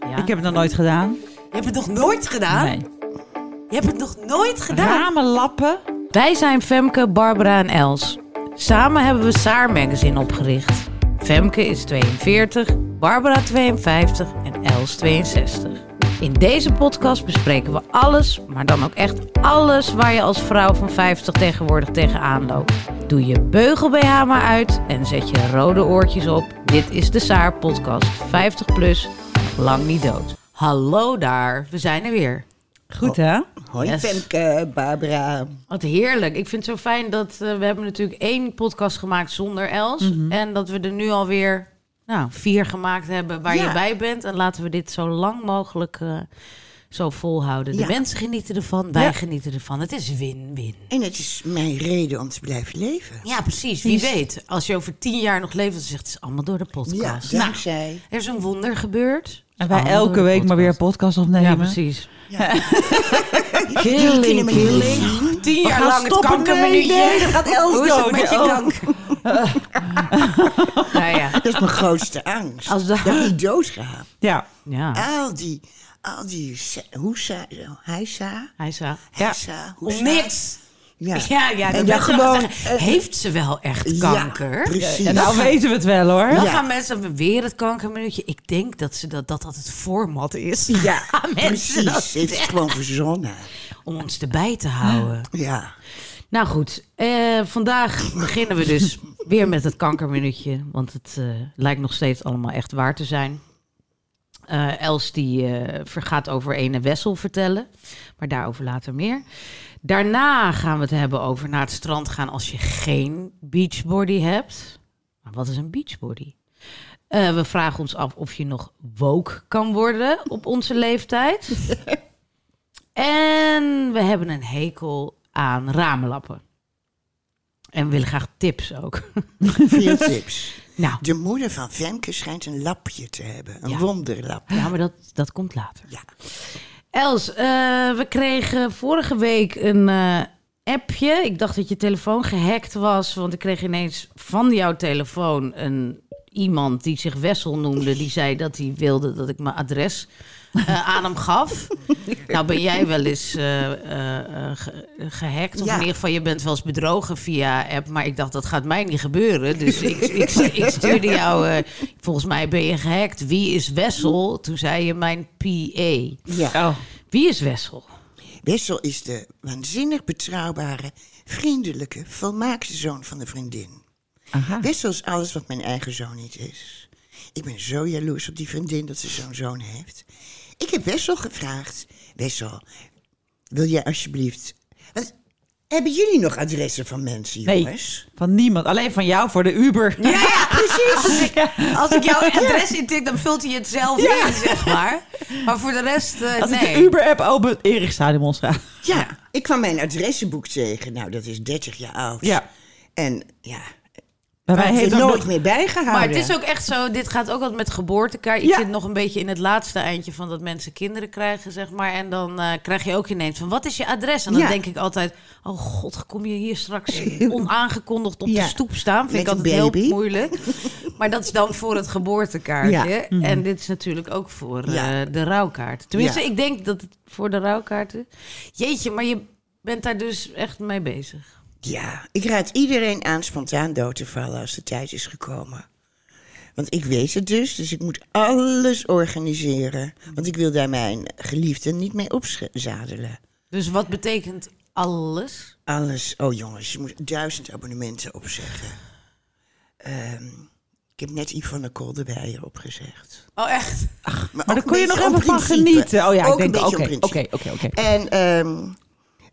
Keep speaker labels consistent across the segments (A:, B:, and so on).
A: Ja.
B: Ik heb het nog nooit gedaan.
A: Je hebt het nog nooit gedaan?
B: Nee.
A: Je hebt het nog nooit gedaan?
B: Ramen lappen.
C: Wij zijn Femke, Barbara en Els. Samen hebben we Saar Magazine opgericht. Femke is 42, Barbara 52 en Els 62. In deze podcast bespreken we alles, maar dan ook echt alles waar je als vrouw van 50 tegenwoordig tegenaan loopt. Doe je beugel BH maar uit en zet je rode oortjes op. Dit is de Saar podcast 50 plus, lang niet dood. Hallo daar, we zijn er weer.
B: Goed hè?
A: Hoi
C: Yes.
A: Femke, Barbara.
C: Wat heerlijk. Ik vind het zo fijn dat eh, we hebben natuurlijk één podcast gemaakt zonder Els.
B: Mhm.
C: En dat we er nu alweer nou, vier gemaakt hebben waar
A: Ja.
C: je bij bent. En laten we dit zo lang mogelijk eh, zo volhouden. De
A: Ja.
C: mensen genieten ervan, wij
A: Ja.
C: genieten ervan. Het is win-win.
A: En het is mijn reden om te blijven leven.
C: Ja, precies. Wie weet, als je over tien jaar nog leeft, dan zegt het is allemaal door de
A: Ja,
C: podcast. Nou,
A: dankzij.
C: er is een wonder gebeurd.
B: En wij
C: Allemaal
B: elke
C: door de
B: week maar weer een
C: Oh, podcast.
B: podcast opnemen.
C: Ja, precies.
A: Jullie kunnen me niet zien.
C: Tien
B: We
C: jaar
B: gaan
C: lang het
B: stoppen.
C: kankerminuutje.
B: Nee, nee,
A: Dan gaat Els
C: Hoe is het
A: dood.
C: met je
A: Oh,
C: kanker? nou ja.
A: Dat is mijn grootste angst.
C: Als de-
A: dat ik dood ga.
B: Ja.
C: ja.
A: Al die, al die, se- hoesa, heisa,
C: Hij zou.
A: heisa,
C: Om
A: hoesa.
C: niks.
A: Ja,
C: Ja, ja. dat
A: en dan
C: mensen
A: gewoon...
C: gaan zeggen,
A: eh,
C: heeft ze wel echt
A: Ja,
C: kanker?
A: precies.
B: Ja, nou weten we het wel hoor.
C: Dan
A: Ja.
C: gaan mensen weer het kankerminuutje. Ik denk dat ze dat, dat, dat het format is.
A: Ja,
C: Gaan mensen dat
A: precies. Heeft het gewoon verzonnen.
C: Om ons erbij te houden.
A: Ja.
C: Nou goed, eh, vandaag beginnen we dus weer met het kankerminuutje. Want het eh, lijkt nog steeds allemaal echt waar te zijn. Eh, Els die eh, gaat over ene Wessel vertellen. Maar daarover later meer. Daarna gaan we het hebben over naar het strand gaan als je geen beachbody hebt. Maar wat is een beachbody? Eh, we vragen ons af of je nog woke kan worden op onze leeftijd. En we hebben een hekel aan ramenlappen. En we willen graag tips ook.
A: Veel tips.
C: nou,
A: De moeder van Femke schijnt een lapje te hebben. Een
C: Ja.
A: wonderlap.
C: ja, maar dat, dat komt later.
A: Ja.
C: Els, eh, we kregen vorige week een eh, appje. Ik dacht dat je telefoon gehackt was, want ik kreeg ineens van jouw telefoon een iemand die zich Wessel noemde, die zei dat hij wilde dat ik mijn adres eh, aan hem gaf. nou ben jij wel eens eh, eh, eh, ge- gehackt, of
A: Ja.
C: in ieder geval je bent wel eens bedrogen via app, maar ik dacht dat gaat mij niet gebeuren. Dus ik, ik, ik stuurde jou, eh, volgens mij ben je gehackt, wie is Wessel? Toen zei je mijn PA.
A: ja.
B: Oh.
C: Wie is Wessel?
A: Wessel is de waanzinnig betrouwbare, vriendelijke, volmaakte zoon van de vriendin.
B: Aha.
A: Wessel is alles wat mijn eigen zoon niet is. Ik ben zo jaloers op die vriendin dat ze zo'n zoon heeft. Ik heb Wessel gevraagd. Wessel, wil jij alsjeblieft... Wat, hebben jullie nog adressen van mensen,
B: Nee,
A: jongens?
B: van niemand. Alleen van jou voor de Uber.
C: Ja, ja, precies. Als ik, Oh, als ik jouw adres intik, dan vult hij het zelf in, zeg maar. Maar voor de rest, eh,
B: Als ik
C: nee.
B: de Uber-app open, Erikstadion ons gaan.
A: Ja, ik kwam mijn adressenboek tegen. Nou, dat is 30 jaar oud.
B: Ja.
A: En ja,
B: Maar
A: hij
B: wij
A: heeft er
B: hebben nog
A: nooit
B: nooit...
A: meer bijgehouden.
C: maar het is ook echt zo, dit gaat ook wat met geboortekaart. Ik
B: Ja.
C: zit nog een beetje in het laatste eindje van dat mensen kinderen krijgen, zeg maar. En dan eh, krijg je ook ineens van, wat is je adres? En dan
A: Ja.
C: denk ik altijd, oh god, kom je hier straks onaangekondigd op
A: Ja.
C: de stoep staan? Vind
A: Met
C: ik
A: een
C: altijd
A: baby.
C: heel moeilijk. Maar dat is dan voor het geboortekaartje.
A: Ja. Mhm.
C: En dit is natuurlijk ook voor
A: Ja.
C: eh, de rouwkaart. Tenminste,
A: Ja.
C: ik denk dat het voor de rouwkaarten... Jeetje, maar je bent daar dus echt mee bezig.
A: Ja, ik raad iedereen aan spontaan dood te vallen als de tijd is gekomen. Want ik weet het dus, dus ik moet alles organiseren. Want ik wil daar mijn geliefde niet mee opzadelen.
C: Dus wat betekent alles?
A: Alles, oh jongens, je moet duizend abonnementen opzeggen. Ehm, ik heb net Yvonne Kolderweijer opgezegd.
C: Oh, echt?
A: Maar,
B: Maar
A: ook
B: daar kon je
A: een
B: nog
A: beetje
B: even
A: om
B: van
A: principe.
B: genieten. Oh ja,
A: Ook
B: ik
A: een
B: denk,
A: beetje om
B: oké,
A: principe.
B: oké, oké. oké.
A: En ehm,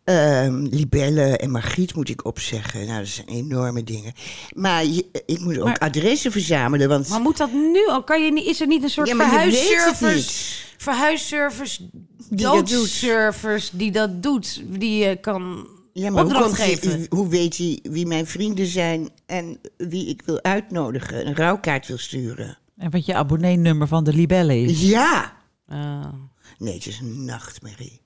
A: Ehm, Libelle en Margriet moet ik opzeggen. Nou, dat zijn enorme dingen. Maar je- ik moet ook
C: Maar-
A: adressen verzamelen, want...
C: Maar moet dat nu al? Kan je niet, is er niet een soort
A: Ja, maar je weet het
C: verhuisservice?
A: niet.
C: Verhuisservice,
A: dat doet.
C: doodservice die dat doet. Die je kan
A: Ja, maar hoe,
C: opdracht
A: komt hij-
C: geven.
A: hoe weet hij wie mijn vrienden zijn en wie ik wil uitnodigen? Een rouwkaart wil sturen.
B: En wat je abonnee-nummer van de Libelle is.
A: Ja!
C: Ah.
A: Nee, het is een nachtmerrie.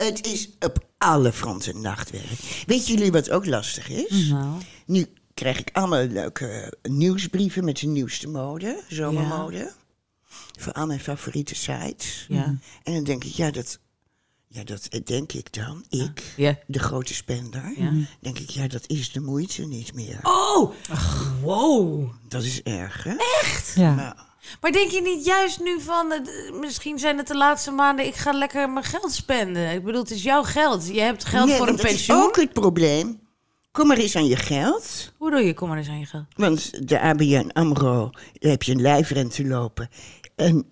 A: Het is op alle fronten nachtwerk. Weet jullie wat ook lastig is?
C: Nou.
A: Nu krijg ik allemaal leuke nieuwsbrieven met de nieuwste mode, zomermode. Voor al mijn favoriete sites.
C: Ja.
A: En dan denk ik, ja, dat, ja, dat denk ik dan. Ik,
C: Ja.
A: de grote spender. Denk ik, ja, dat is de moeite niet meer.
C: Oh!
B: Oh.
C: wow!
A: Dat is erg, hè?
B: Ja.
A: Maar,
C: Maar denk je niet juist nu van, eh, d- misschien zijn het de laatste maanden, ik ga lekker mijn geld spenden. Ik bedoel, het is jouw geld. Je hebt geld
A: Nee,
C: voor een
A: want dat is
C: pensioen.
A: ook het probleem. Kom maar eens aan je geld.
C: Hoe doe je? Kom maar eens aan je geld.
A: Want de ABN AMRO, daar heb je een lijfrente lopen. En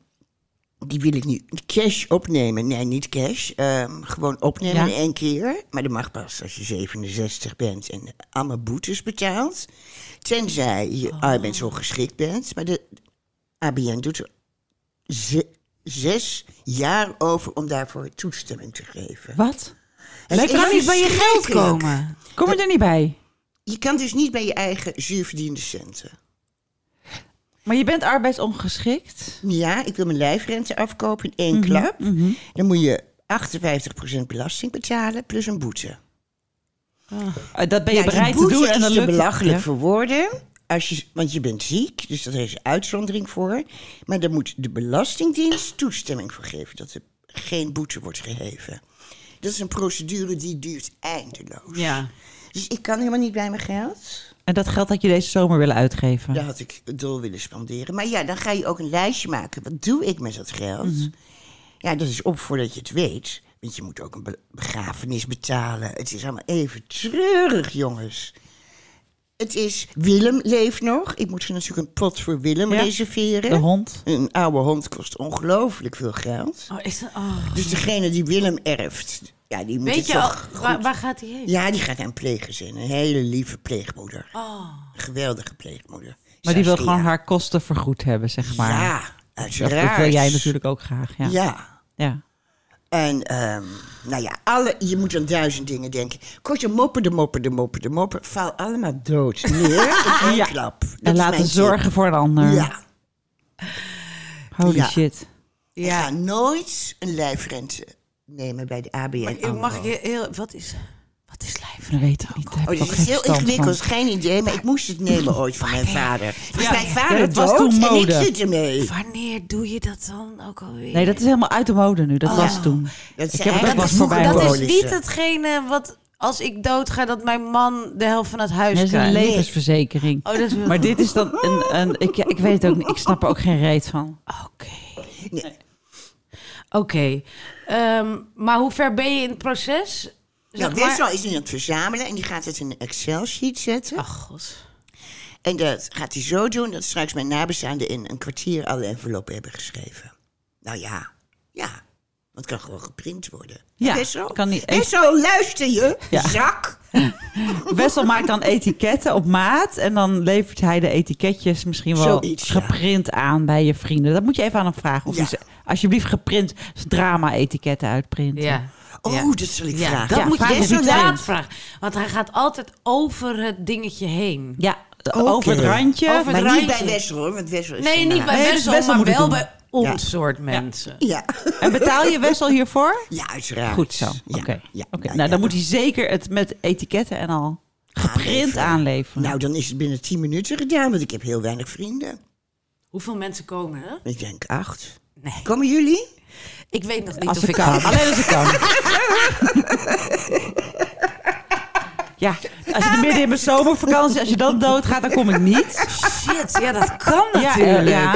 A: die wil ik nu cash opnemen. Nee, niet cash. ehm, gewoon opnemen
B: Ja.
A: in één keer. Maar dat mag pas als je 67 bent en allemaal boetes betaalt. Tenzij je
C: Oh.
A: arbeidsongeschikt bent. Maar de ABN doet er ze- zes jaar over om daarvoor toestemming te geven.
B: Wat?
A: Het
C: Je
A: is
C: kan niet bij je geld
A: verschrikkelijk.
C: komen.
B: Kom je er niet bij?
A: Je kan dus niet bij je eigen zuurverdiende centen.
B: Maar je bent arbeidsongeschikt.
A: Ja, ik wil mijn lijfrente afkopen in één
B: Mhm,
A: klap. Dan moet je 58% belasting betalen plus een boete.
B: Eh, Dat ben je
A: Ja, die
B: bereid te
A: boete
B: doen en
A: is
B: dan
A: te
B: lukt
A: belachelijk
B: het. Ja.
A: voor woorden. Als je, want je bent ziek, dus daar is een uitzondering voor. Maar daar moet de Belastingdienst toestemming voor geven dat er geen boete wordt geheven. Dat is een procedure die duurt eindeloos.
C: Ja.
A: Dus ik kan helemaal niet bij mijn geld.
B: En dat geld dat je deze zomer willen uitgeven.
A: Daar had ik dol willen spanderen. Maar ja, dan ga je ook een lijstje maken. Wat doe ik met dat geld?
B: Mhm.
A: Ja, dat is op voordat je het weet. Want je moet ook een be- begrafenis betalen. Het is allemaal even treurig, jongens. Het is Willem leeft nog. Ik moet natuurlijk een pot voor Willem
B: Ja,
A: reserveren.
B: De hond.
A: Een oude hond kost ongelooflijk veel geld.
C: Oh, is dat, oh.
A: Dus degene die Willem erft, ja, die moet
C: Weet
A: het
C: je al,
A: toch
C: waar,
A: goed-
C: waar gaat hij heen?
A: Ja, die gaat naar een pleeggezin. Een hele lieve pleegmoeder. Een geweldige pleegmoeder.
B: Oh. Maar die wil
A: Saskia.
B: gewoon haar kosten vergoed hebben, zeg maar. eh,
A: Ja,
B: Dat,
A: uiteraard.
B: dat wil jij natuurlijk ook graag. Ja.
A: Ja.
B: ja.
A: En ehm, nou ja, alle, je moet aan duizend dingen denken. Kortom, moppen, de moppen, de moppen, de moppen. Val allemaal dood neer in één
B: Ja.
A: klap. Dat
B: En
A: is
B: laten
A: mijn
B: zorgen voor een ander.
A: tip. Ja.
B: Holy
A: Ja.
B: shit.
A: ja. Ga nooit een lijfrente nemen bij de ABN
C: Ik- Mag
A: AMRO.
C: ik heel- heel... Wat is... Wat is lijf?
B: Ik weet het niet. Daar heb
A: Oh,
B: ik
A: dat
B: ook
A: is
B: geen
A: heel
B: verstand van.
A: ingewikkeld, geen idee, maar ik moest het nemen ooit van mijn vader. Dus
B: Ja.
A: mijn
B: Ja,
A: vader
B: dat was
A: dood
B: toen
A: en ik
B: mode.
A: zit ermee.
C: Wanneer doe je dat dan ook alweer?
B: Nee, dat is helemaal uit de mode nu.
A: Oh,
B: Dat was toen.
A: Dat
B: ik heb het ook wel
A: was
B: eens voorbij
C: dat
B: horen.
C: is niet hetgene wat... Als ik doodga, dat mijn man de helft van het huis
B: Dat is een
C: krijgt.
B: levensverzekering.
C: Oh, dat is wel-
B: Maar dit is dan een... een ik, ja, ik weet het ook niet. Ik snap er ook geen reet van.
C: Oké. Oké. Ehm, maar hoe ver ben je in het proces?
A: Nou,
C: maar-
A: Wessel is nu aan het verzamelen en die gaat het in een Excel-sheet zetten.
C: Ach, Oh, god.
A: En dat gaat hij zo doen dat straks mijn nabestaanden in een kwartier alle enveloppen hebben geschreven. Nou ja, ja. Want het kan gewoon geprint worden.
B: Ja,
A: Wessel?
B: kan niet-
A: Wessel, luister je,
B: Ja.
A: zak.
B: Wessel maakt dan etiketten op maat. En dan levert hij de etiketjes misschien wel
A: Zoiets, ja.
B: geprint aan bij je vrienden. Dat moet je even aan hem vragen. Of
A: Ja.
B: hij ze alsjeblieft geprint drama-etiketten uitprint.
C: Ja.
A: Oh,
C: Ja.
A: dat zal ik
C: Ja,
A: vragen.
C: dat
B: Ja,
C: moet je
B: vraag is niet
C: inderdaad
B: vreemd.
C: vragen. Want hij gaat altijd over het dingetje heen.
B: Ja, over het randje.
C: Over het
A: maar
B: maar
A: niet bij
C: draadje.
A: Wessel, hoor, want Wessel is
C: Nee,
A: zo'n
C: niet bij
A: naam.
B: Nee, dus
C: Wessel,
B: Wessel
C: maar
B: moet het
C: wel
B: doen.
C: bij ons
A: Ja.
C: soort mensen.
A: Ja.
B: En betaal je Wessel hiervoor?
A: ja, uiteraard.
B: Goed zo.
A: Ja,
B: Oké.
A: ja,
B: Oké.
A: ja,
B: nou, dan
A: ja.
B: moet hij zeker het met etiketten en al geprint
A: Aanleveren.
B: aanleveren.
A: Nou, dan is het binnen tien minuten gedaan, want ik heb heel weinig vrienden.
C: Hoeveel mensen komen er?
A: Ik denk acht.
C: Nee.
A: Komen jullie?
C: Ik weet nog niet
B: als
C: of
B: het
C: ik
B: kan.
C: kan.
B: Alleen als het kan. ja, als je midden in mijn zomervakantie, als je dan doodgaat, dan kom ik niet.
C: Shit, ja, dat kan
B: Ja, eh,
C: natuurlijk.
B: ja.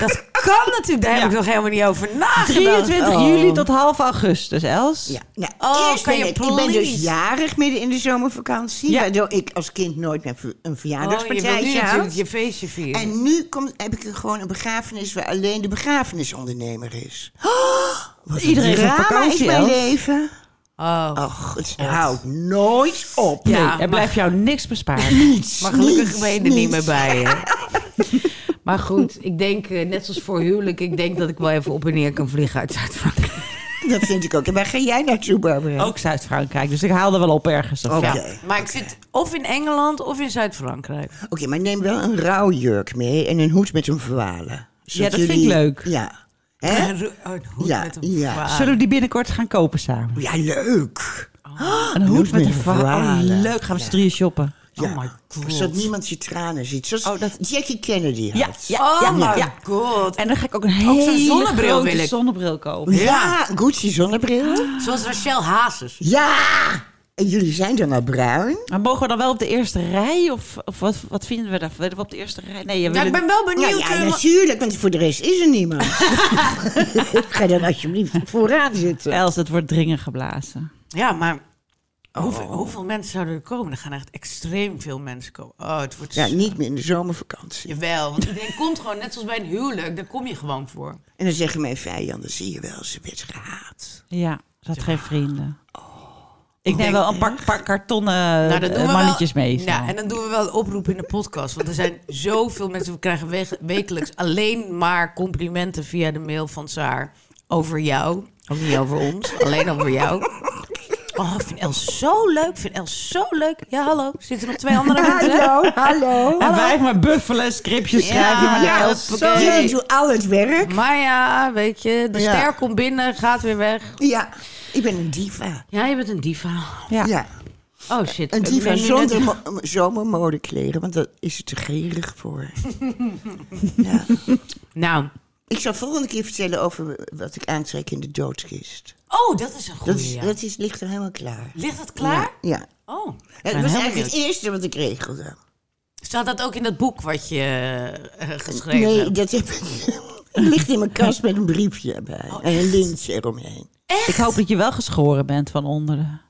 C: Dat kan natuurlijk. Daar heb
B: Ja.
C: ik nog helemaal niet over nagedacht.
B: 23
C: Oh.
B: juli tot half augustus, Els.
A: Ja, nou,
C: Oh,
A: eerst
C: kan
A: ben
C: je
A: ik, ik ben dus
C: please?
A: jarig midden in de zomervakantie.
B: Ja.
A: Waardoor ik als kind nooit mijn ver- een
C: Oh, je wil nu
A: verjaardagspartijtje
C: natuurlijk
A: had.
C: je feestje vieren.
A: En nu komt, heb ik gewoon een begrafenis waar alleen de begrafenisondernemer is. Oh, wat een
B: Iedereen is op
A: drama
B: vakantie,
A: is mijn
B: Els.
A: leven.
C: Oh.
A: Och, het houdt nooit op.
B: Nee,
C: Ja,
B: er blijft jou niks besparen.
A: Niets,
C: Maar gelukkig
A: niets,
C: ben je er niet
A: niets.
C: meer bij. Hè? maar goed, ik denk, eh, net zoals voor huwelijk, ik denk dat ik wel even op en neer kan vliegen uit Zuid-Frankrijk.
A: Dat vind ik ook. En waar ga jij naartoe,
C: Oh.
A: Barbara?
B: Ook Zuid-Frankrijk, dus ik haalde wel op ergens. Of
A: Oké.
B: ja.
A: Oké,
C: Maar ik zit of in Engeland of in Zuid-Frankrijk.
A: maar neem wel een rouwjurk mee en een hoed met een voile. Zodat
B: dat vind ik leuk.
A: Ja. Hè?
C: Een hoed
A: Ja,
C: met een
A: ja.
C: vaar.
B: Zullen we die binnenkort gaan kopen samen?
A: Ja, leuk.
C: Oh.
B: Een hoed met een
A: verhaal.
B: verhaal. Oh, leuk, gaan we z'n drieën shoppen.
A: Ja.
C: my God.
A: Zodat niemand je tranen ziet. Zoals
B: Oh, dat-
A: Jackie Kennedy had.
C: Oh my
B: ja.
C: god.
B: En dan ga ik ook een
C: zo'n
B: hele
C: zonnebril
B: grote
C: wil ik.
B: zonnebril kopen.
A: Ja, Gucci zonnebril.
C: Zoals Rachel Hazes.
A: Ja! En jullie zijn dan al bruin.
B: Maar mogen we dan wel op de eerste rij? Of, of wat, wat vinden we daarvan? Willen we op de eerste rij? Nee, je
C: Ja,
B: wil
C: ik ben wel
A: Nou
C: benieuwd.
A: ja,
C: eh,
A: natuurlijk, want voor de rest is er niemand. Ga dan alsjeblieft vooraan zitten.
B: Els, het wordt dringen geblazen.
C: Ja, maar hoeveel, hoeveel mensen zouden er komen? Er gaan echt extreem veel mensen komen. Oh, het wordt...
A: Ja,
C: zo-
A: niet meer in de zomervakantie.
C: Jawel, want iedereen komt gewoon, net zoals bij een huwelijk, daar kom je gewoon voor.
A: En dan zeggen mijn vijanden, zie je wel, ze werd gehaat.
B: Ja, ze had geen vrienden. Ik neem wel een paar, paar kartonnen
C: Oh. Nou, dat doen
B: eh,
C: we
B: mannetjes
C: wel,
B: mee.
C: Ja, en dan doen we wel een oproep in de podcast. Want er zijn zoveel mensen. We krijgen we- wekelijks alleen maar complimenten via de mail van Saar. Over jou. Ook niet over ons. Alleen over jou. Oh, ik vind Els zo leuk. Ik vind Els zo leuk. Ja, hallo. Zitten nog twee andere mensen? hè?
A: hallo.
B: En wij maar buffelen, scriptjes schrijven. maar
C: Ja,
B: Els,
C: hoppakee.
A: Jullie doen al het werk.
C: Maar ja, weet je, de
A: Ja.
C: ster komt binnen, gaat weer weg.
A: Ja, ik ben een diva.
C: Ja, je bent een diva.
B: Ja.
A: Ja,
C: Oh shit.
A: een
C: Ik
A: diva
C: ben nu
A: zonder
C: net-
A: mo- zomermodekleren, want daar is het te gerig voor. ja.
C: Nou.
A: Ik zal volgende keer vertellen over wat ik aantrek in de doodkist.
C: Oh, dat is een
A: Dat,
C: goede.
A: is, dat is, ligt er helemaal klaar.
C: Ligt dat klaar?
A: Ja.
C: Oh.
A: Het was eigenlijk het eerste wat ik regelde.
C: Staat dat ook in dat boek wat je eh, geschreven
A: nee,
C: hebt?
A: dat heb ik. Het ligt in mijn kast met een briefje erbij.
C: Oh,
A: en een lintje eromheen.
B: Ik hoop dat je wel geschoren bent van onderen.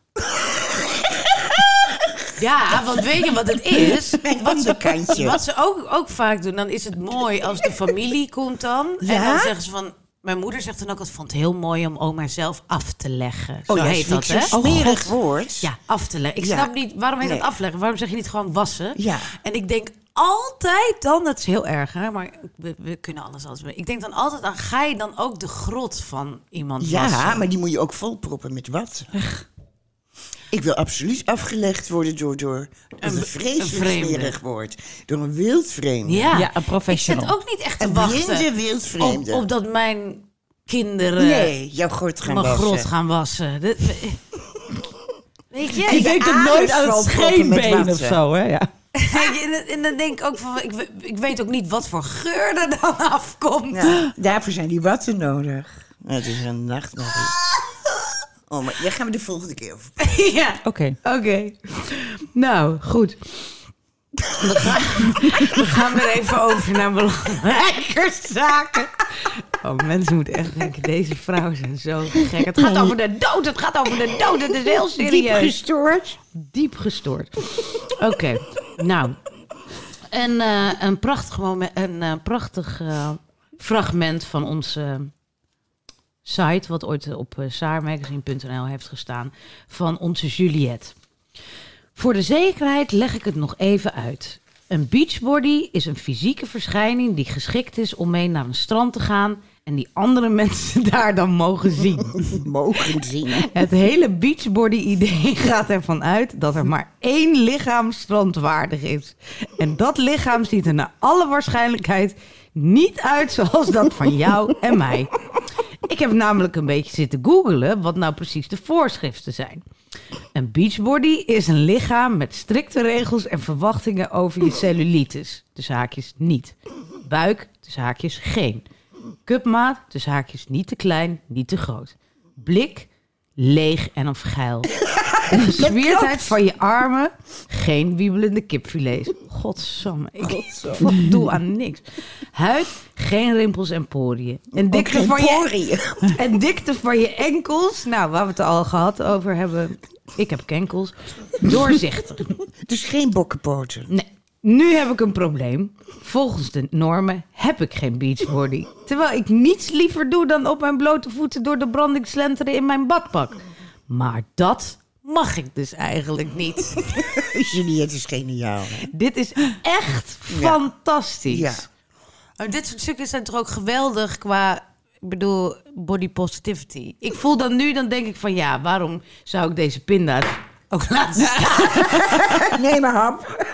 C: Ja, want weet je wat het is?
A: Mijn onderkantje.
C: Wat ze ook, ook vaak doen, dan is het mooi als de familie komt dan. En
A: Ja?
C: dan zeggen ze van... Mijn moeder zegt dan ook altijd van het heel mooi om oma zelf af te leggen. Zo
A: Oh, ja,
C: heet dat,
A: Zo'n
C: hè?
A: smerig woord.
C: Ja, af te leggen. Ik
A: Ja.
C: snap niet, waarom heet dat
A: Nee.
C: afleggen? Waarom zeg je niet gewoon wassen?
A: Ja.
C: En ik denk altijd dan, dat is heel erg, hè? maar we, we kunnen alles als we. Ik denk dan altijd aan, ga je dan ook de grot van iemand
A: Ja,
C: wassen?
A: maar die moet je ook volproppen met wat? Ik wil absoluut afgelegd worden door, door een, vreselijk
C: een vreemde.
A: smerig woord. Door een wild vreemde.
C: Ja,
B: Ja, een professional.
C: Ik zit ook niet echt te
A: Een blinde
C: wachten op,
A: wildvreemde.
C: op dat mijn kinderen
A: Nee, jouw grot gaan
C: mijn
A: wassen.
C: grot gaan wassen. Dit- Weet je?
A: Ik denk dat nooit aan het scheenbeen of zo,
B: hè? Ja.
C: Weet je, en dan- En dan denk ik ook van, ik, we- ik weet ook niet wat voor geur er dan afkomt.
A: Ja, daarvoor zijn die watten nodig. Nou, Het is een nachtmerrie. Oh, maar daar gaan we de volgende keer over. praten.
C: ja.
B: Oké.
C: Oké. Nou, goed. We gaan, we gaan weer even over naar belangrijker zaken. Oh, mensen moeten echt denken, deze vrouwen zijn zo gek. Het gaat over de dood, het gaat over de dood. Het is heel serieus. Diep gestoord. Diep gestoord. Oké, nou. Een, eh, een prachtig, moment, een, eh, prachtig eh, fragment van onze site, wat ooit op eh, saarmagazine.nl heeft gestaan, van onze Juliette. Voor de zekerheid leg ik het nog even uit. Een beachbody is een fysieke verschijning die geschikt is om mee naar een strand te gaan en die andere mensen daar dan mogen zien.
A: Mogen zien.
C: Het hele beachbody-idee gaat ervan uit dat er maar één lichaam strandwaardig is. En dat lichaam ziet er naar alle waarschijnlijkheid niet uit zoals dat van jou en mij. Ik heb namelijk een beetje zitten googelen wat nou precies de voorschriften zijn. Een beachbody is een lichaam met strikte regels en verwachtingen over je cellulitis. Dus haakjes niet. Buik, dus haakjes geen. Cupmaat, dus haakjes niet te klein, niet te groot. Blik, leeg en of geil. De gezwieerdheid van je armen, geen wiebelende kipfilets. Godsamme, ik ik doe aan niks. Huid, geen rimpels en poriën. En dikte
A: geen
C: van je
A: poriën.
C: en dikte van je enkels. Nou, waar we het al gehad over hebben. Ik heb kenkels. Doorzichtig.
A: Dus geen bokkenpoten.
C: Nee. Nu heb ik een probleem. Volgens de normen heb ik geen beachbody. Terwijl ik niets liever doe dan op mijn blote voeten door de branding slenteren in mijn badpak. Maar dat mag ik dus eigenlijk niet.
A: Juliette is geniaal. hè?
C: Dit is echt fantastisch.
A: Ja.
C: Maar dit soort stukjes zijn toch ook geweldig qua, ik bedoel, body positivity. Ik voel dan nu, dan denk ik van ja, waarom zou ik deze pinda's ook laten staan?
A: Nee, maar hap.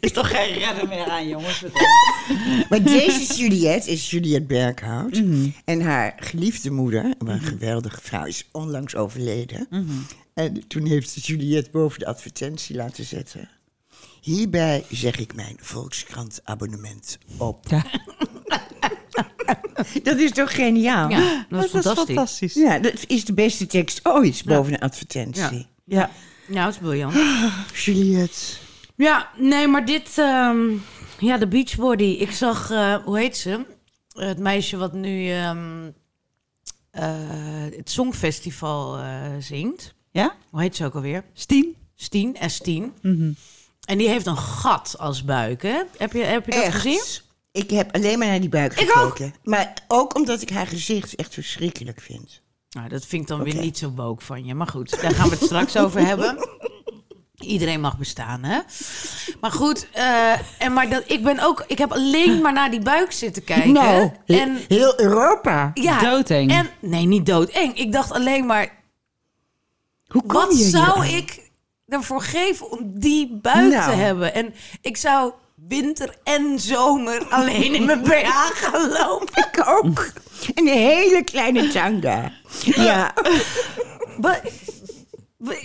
B: Is toch geen redder meer aan, jongens.
A: Maar deze Juliette is Juliette Berghout. En haar geliefde moeder, wat een geweldige vrouw, is onlangs overleden. En toen heeft ze Juliette boven de advertentie laten zetten. Hierbij zeg ik mijn Volkskrant abonnement op. Dat is toch geniaal?
C: Ja, dat is
B: Dat is
C: fantastisch.
B: fantastisch.
A: Ja, dat is de beste tekst ooit boven een advertentie.
B: Ja.
C: Nou, dat is briljant.
A: Juliette.
C: Ja, nee, maar dit... ehm, ja, de Beachbody. Ik zag, eh, hoe heet ze? Eh, het meisje wat nu ehm, eh, het Songfestival eh, zingt.
B: Ja?
C: Hoe heet ze ook alweer?
B: Stien?
C: Stien, S10. En die heeft een gat als buik, hè? Heb je, heb je dat gezien?
A: Ik heb alleen maar naar die buik
C: Ik
A: gekeken. Maar ook omdat ik haar gezicht echt verschrikkelijk vind.
C: Nou, dat vind ik dan weer
A: Oké.
C: niet zo woke van je. Maar goed, daar gaan we het straks over hebben. Iedereen mag bestaan, hè? Maar goed, eh, en maar dat, ik ben ook... Ik heb alleen maar naar die buik zitten kijken.
A: nou, he-
C: en,
A: heel Europa.
C: ja,
B: Doodeng.
C: En, nee, niet doodeng. Ik dacht alleen maar...
A: Hoe kom
C: Wat
A: je hier
C: zou
A: aan?
C: ik ervoor geven om die buik
A: Nou.
C: te hebben? En ik zou winter en zomer alleen in mijn BH gaan lopen.
A: Ik ook. Een hele kleine tanga. Ja.
C: Wa- wa-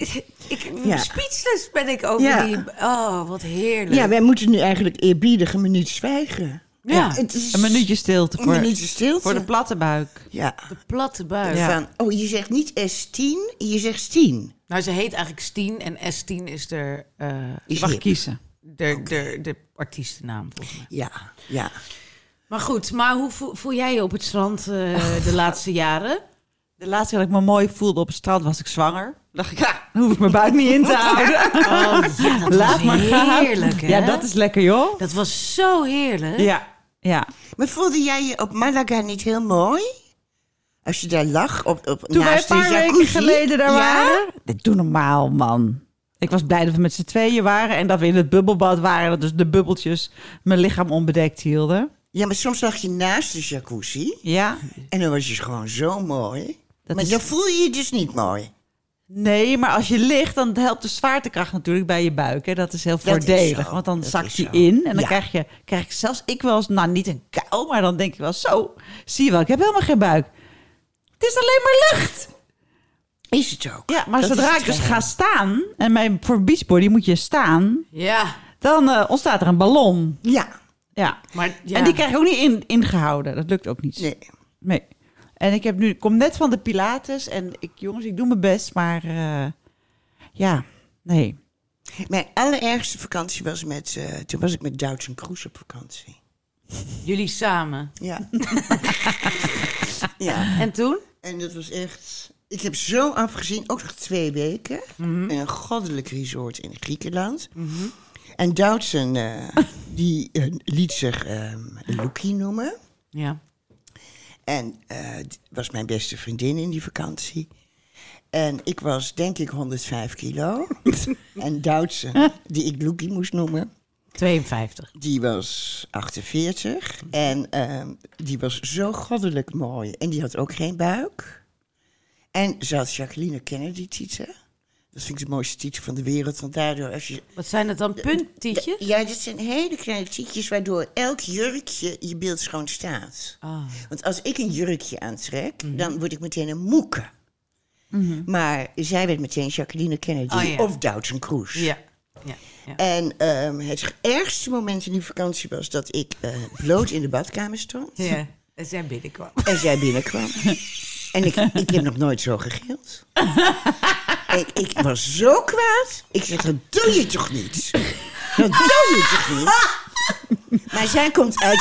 C: Ik,
A: Ja.
C: Speechless ben ik over
A: Ja.
C: die... Oh, wat heerlijk.
A: ja, wij moeten nu eigenlijk eerbiedig een minuut zwijgen.
C: Ja.
A: het is
B: Een minuutje stilte
A: Een
B: voor,
A: minuutje stilte.
B: voor de platte buik.
A: ja.
C: Platte buik.
A: Van, oh, je zegt niet S10, je zegt 10.
C: Nou, ze heet eigenlijk Stien en S10 is de, eh,
A: Is
B: Mag
A: hip.
B: kiezen.
C: de, de, de artiestennaam, volgens mij.
A: Ja, ja.
C: Maar goed, maar hoe voel, voel jij je op het strand eh, de laatste jaren?
B: De laatste keer dat ik me mooi voelde op het strand was ik zwanger. dacht ik, ja, dan hoef ik mijn buik niet in te houden.
C: ja, dat
B: Laat
C: was
B: maar gaan.
C: heerlijk, hè?
B: Ja, dat is lekker, joh.
C: Dat was zo heerlijk.
B: Ja, ja.
A: Maar voelde jij je op Malaga niet heel mooi? Als je daar lag, op, op,
B: Toen wij een
A: naast
B: paar
A: de jacuzzi?
B: weken geleden daar
A: Ja?
B: waren. Dit doe normaal, man. Ik was blij dat we met z'n tweeën waren en dat we in het bubbelbad waren. Dat dus de bubbeltjes mijn lichaam onbedekt hielden.
A: Ja, maar soms lag je naast de jacuzzi
B: Ja.
A: en dan was je gewoon zo mooi.
B: Dat
A: maar
B: is-
A: dan voel je je dus niet mooi.
B: Nee, maar als je ligt, dan helpt de zwaartekracht natuurlijk bij je buik. Hè. Dat is heel
A: is
B: voordelig,
A: zo.
B: want dan
A: Dat
B: zakt
A: is
B: die
A: zo.
B: in. En dan
A: Ja.
B: krijg, je, krijg ik zelfs ik wel eens, nou niet een kou, maar dan denk je wel zo. Zie je wel, ik heb helemaal geen buik. Het is alleen maar lucht.
A: Is het ook?
B: Ja, maar
A: Dat is
B: zodra
A: het
B: ik dus
A: geheim.
B: ga staan, en mijn, voor beachbody moet je staan,
C: Ja,
B: dan eh, ontstaat er een ballon.
A: Ja,
B: Ja.
C: maar ja.
B: En die krijg ik ook niet in, ingehouden. Dat lukt ook niet.
A: nee.
B: Nee. En ik heb nu, ik kom net van de Pilates en ik, jongens, ik doe mijn best, maar eh, ja, nee.
A: Mijn allerergste vakantie was met... eh, toen was ik met Douds en Kroes op vakantie.
C: Jullie samen.
A: Ja. ja.
C: En toen?
A: En dat was echt... Ik heb zo afgezien, ook nog twee weken,
C: Mhm.
A: in een goddelijk resort in Griekenland. En Doutzen, eh, die eh, liet zich ehm Loekie noemen.
C: Ja.
A: En eh, d- was mijn beste vriendin in die vakantie. En ik was denk ik 105 kilo. en Doutzen, die ik Loekie moest noemen,
C: 52.
A: die was 48. En ehm, die was zo goddelijk mooi. En die had ook geen buik. En ze had Jacqueline Kennedy tieten. Dat vind ik de mooiste titel van de wereld. Want daardoor als je...
C: Wat zijn het dan? Punttietjes?
A: Ja, dat zijn hele kleine tietjes waardoor elk jurkje je beeld schoon staat.
C: Ah. Mhm.
A: Want als ik een jurkje aantrek, dan word ik meteen een moeke. Maar zij werd meteen Jacqueline Kennedy
C: Oh, ja.
A: of Doutzen Kroes.
C: Ja. ja. ja.
A: En ehm, het ergste moment in die vakantie was dat ik eh, bloot in de badkamer stond.
C: Ja. En zij binnenkwam.
A: En zij binnenkwam. en ik, ik heb nog nooit zo gegild. ik, ik was zo kwaad. Ik zeg, dat doe je toch niet? Dat doe je toch niet? maar zij komt uit...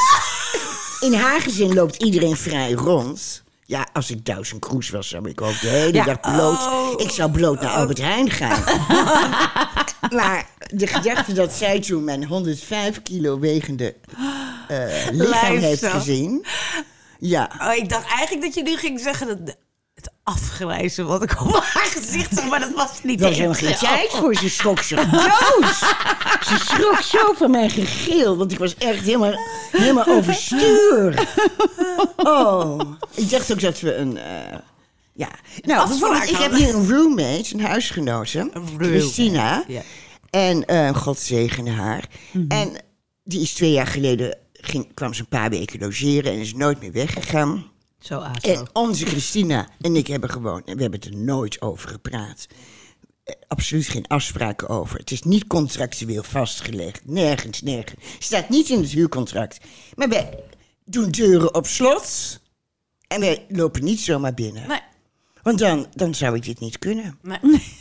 A: In haar gezin loopt iedereen vrij rond. Ja, als ik duizend kroes was, zou ik ook de hele dag bloot...
C: Oh.
A: Ik zou bloot naar Albert Heijn gaan. maar de gedachte dat zij toen mijn 105 kilo wegende eh, lichaam
C: Lijf
A: heeft
C: zag.
A: gezien... Ja.
C: Oh, ik dacht eigenlijk dat je nu ging zeggen dat de- het afgrijzen wat ik op haar gezicht zag, maar dat was niet
D: Er was
C: eens
D: helemaal geen
C: zo.
D: tijd voor. Ze schrok zo doos. Ze schrok zo van mijn gegil. Want ik was echt helemaal, helemaal overstuur. Oh.
A: Ik dacht ook dat we een. eh, ja, nou,
C: afspraak
A: bijvoorbeeld, ik heb
C: hadden.
A: hier een roommate, een huisgenote,
C: roommate,
A: Christina.
C: ja. Mhm.
A: En eh God zegene haar. En die is twee jaar geleden, ging, kwam ze een paar weken logeren en is nooit meer weggegaan.
C: Zo, Azo.
A: En onze Christina en ik hebben gewoon, we hebben het er nooit over gepraat. Eh, Absoluut geen afspraken over. Het is niet contractueel vastgelegd. Nergens, nergens. Staat niet in het huurcontract. Maar wij doen deuren op slot. En wij lopen niet zomaar binnen.
C: Nee,
A: Want dan, dan zou ik dit niet kunnen.
C: nee, nee.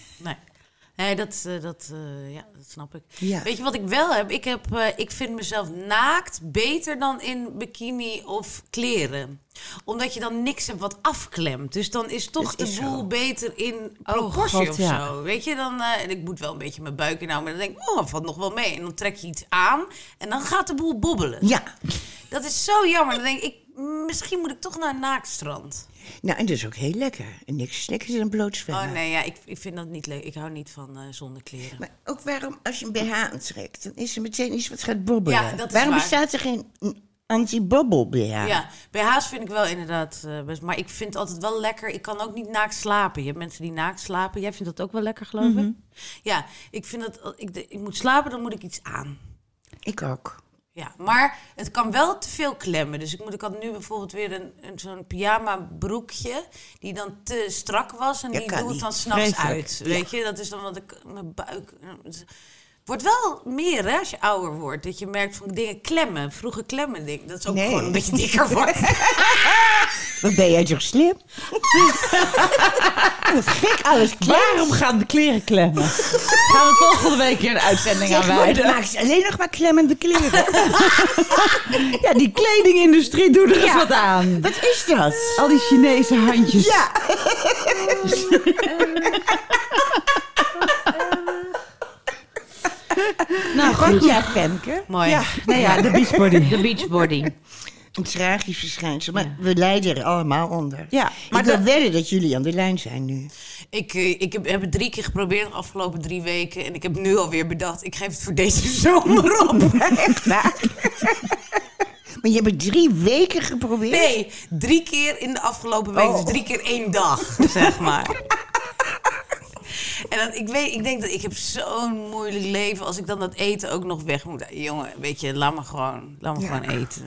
C: Nee, dat, eh, dat, eh, ja, dat snap ik.
A: Ja.
C: Weet je wat ik wel heb? Ik, heb eh, ik vind mezelf naakt beter dan in bikini of kleren. Omdat je dan niks hebt wat afklemt. Dus dan is Oh, toch
A: Dat is
C: de
A: zo.
C: boel beter in proportie
B: Oh, God,
C: of
B: ja.
C: zo. Weet je, dan, eh, en ik moet wel een beetje mijn buik inhouden. Maar dan denk ik, oh, valt nog wel mee. En dan trek je iets aan en dan gaat de boel bobbelen.
A: Ja.
C: Dat is zo jammer. Dan denk ik, ik, misschien moet ik toch naar een naaktstrand.
A: Nou, en dat is ook heel lekker. En niks is lekkerder dan blootsvellen.
C: Oh nee, ja, ik, ik vind dat niet leuk. Ik hou niet van eh zonder kleren.
A: Maar ook waarom, als je een BH aantrekt, dan is er meteen iets wat gaat bobbelen.
C: Ja, dat is
A: waarom
C: waar.
A: bestaat er geen anti-bobbel BH?
C: Ja, BH's vind ik wel inderdaad eh, best. Maar ik vind het altijd wel lekker. Ik kan ook niet naakt slapen. Je hebt mensen die naakt slapen. Jij vindt dat ook wel lekker, geloof
B: Mhm.
C: ik? Ja, ik vind dat... als Ik, de- ik moet slapen, dan moet ik iets aan.
A: Ik ook.
C: Ja, maar het kan wel te veel klemmen. Dus ik, moet, ik had nu bijvoorbeeld weer een, een, zo'n pyjama broekje... die dan te strak was en
A: Ja,
C: die
A: kan
C: doe ik
A: niet.
C: dan s'nachts
B: Vreselijk.
C: uit. Weet je, dat is dan wat ik... Mijn buik... Het wordt wel meer hè, als je ouder wordt. Dat je merkt van dingen klemmen. Vroeger klemmen dingen. Dat is ook
A: Nee.
C: gewoon omdat je dikker wordt.
A: Wat ben jij toch slim?
B: Gek alles. Waarom gaan de kleren klemmen? gaan we volgende week hier een uitzending aan
A: Zeg maar, het
B: wijden.
A: maakt alleen nog maar klemmende kleren.
B: Ja, die kledingindustrie doet er eens wat aan.
A: Wat is dat?
B: Al die Chinese handjes.
A: Ja,
B: nou
A: goed
B: goed.
A: ja, Femke.
C: Mooi.
B: Ja, nou ja, de beachbody.
C: De beachbody.
A: Een tragisch verschijnsel, maar we lijden er allemaal onder.
B: Ja,
A: maar
B: maar
A: ik wil
B: dat-
A: wedden dat jullie aan de lijn zijn nu.
C: Ik, eh, ik heb, heb het drie keer geprobeerd de afgelopen drie weken. En ik heb nu alweer bedacht, ik geef het voor deze zomer op.
A: Echt waar? maar je hebt het drie weken geprobeerd?
C: Nee, drie keer in de afgelopen week.
A: Oh.
C: Dus drie keer één dag, zeg maar. En dan, ik, weet, ik denk dat ik heb zo'n moeilijk leven als ik dan dat eten ook nog weg moet. Jongen, weet je, laat me gewoon, laat me gewoon eten.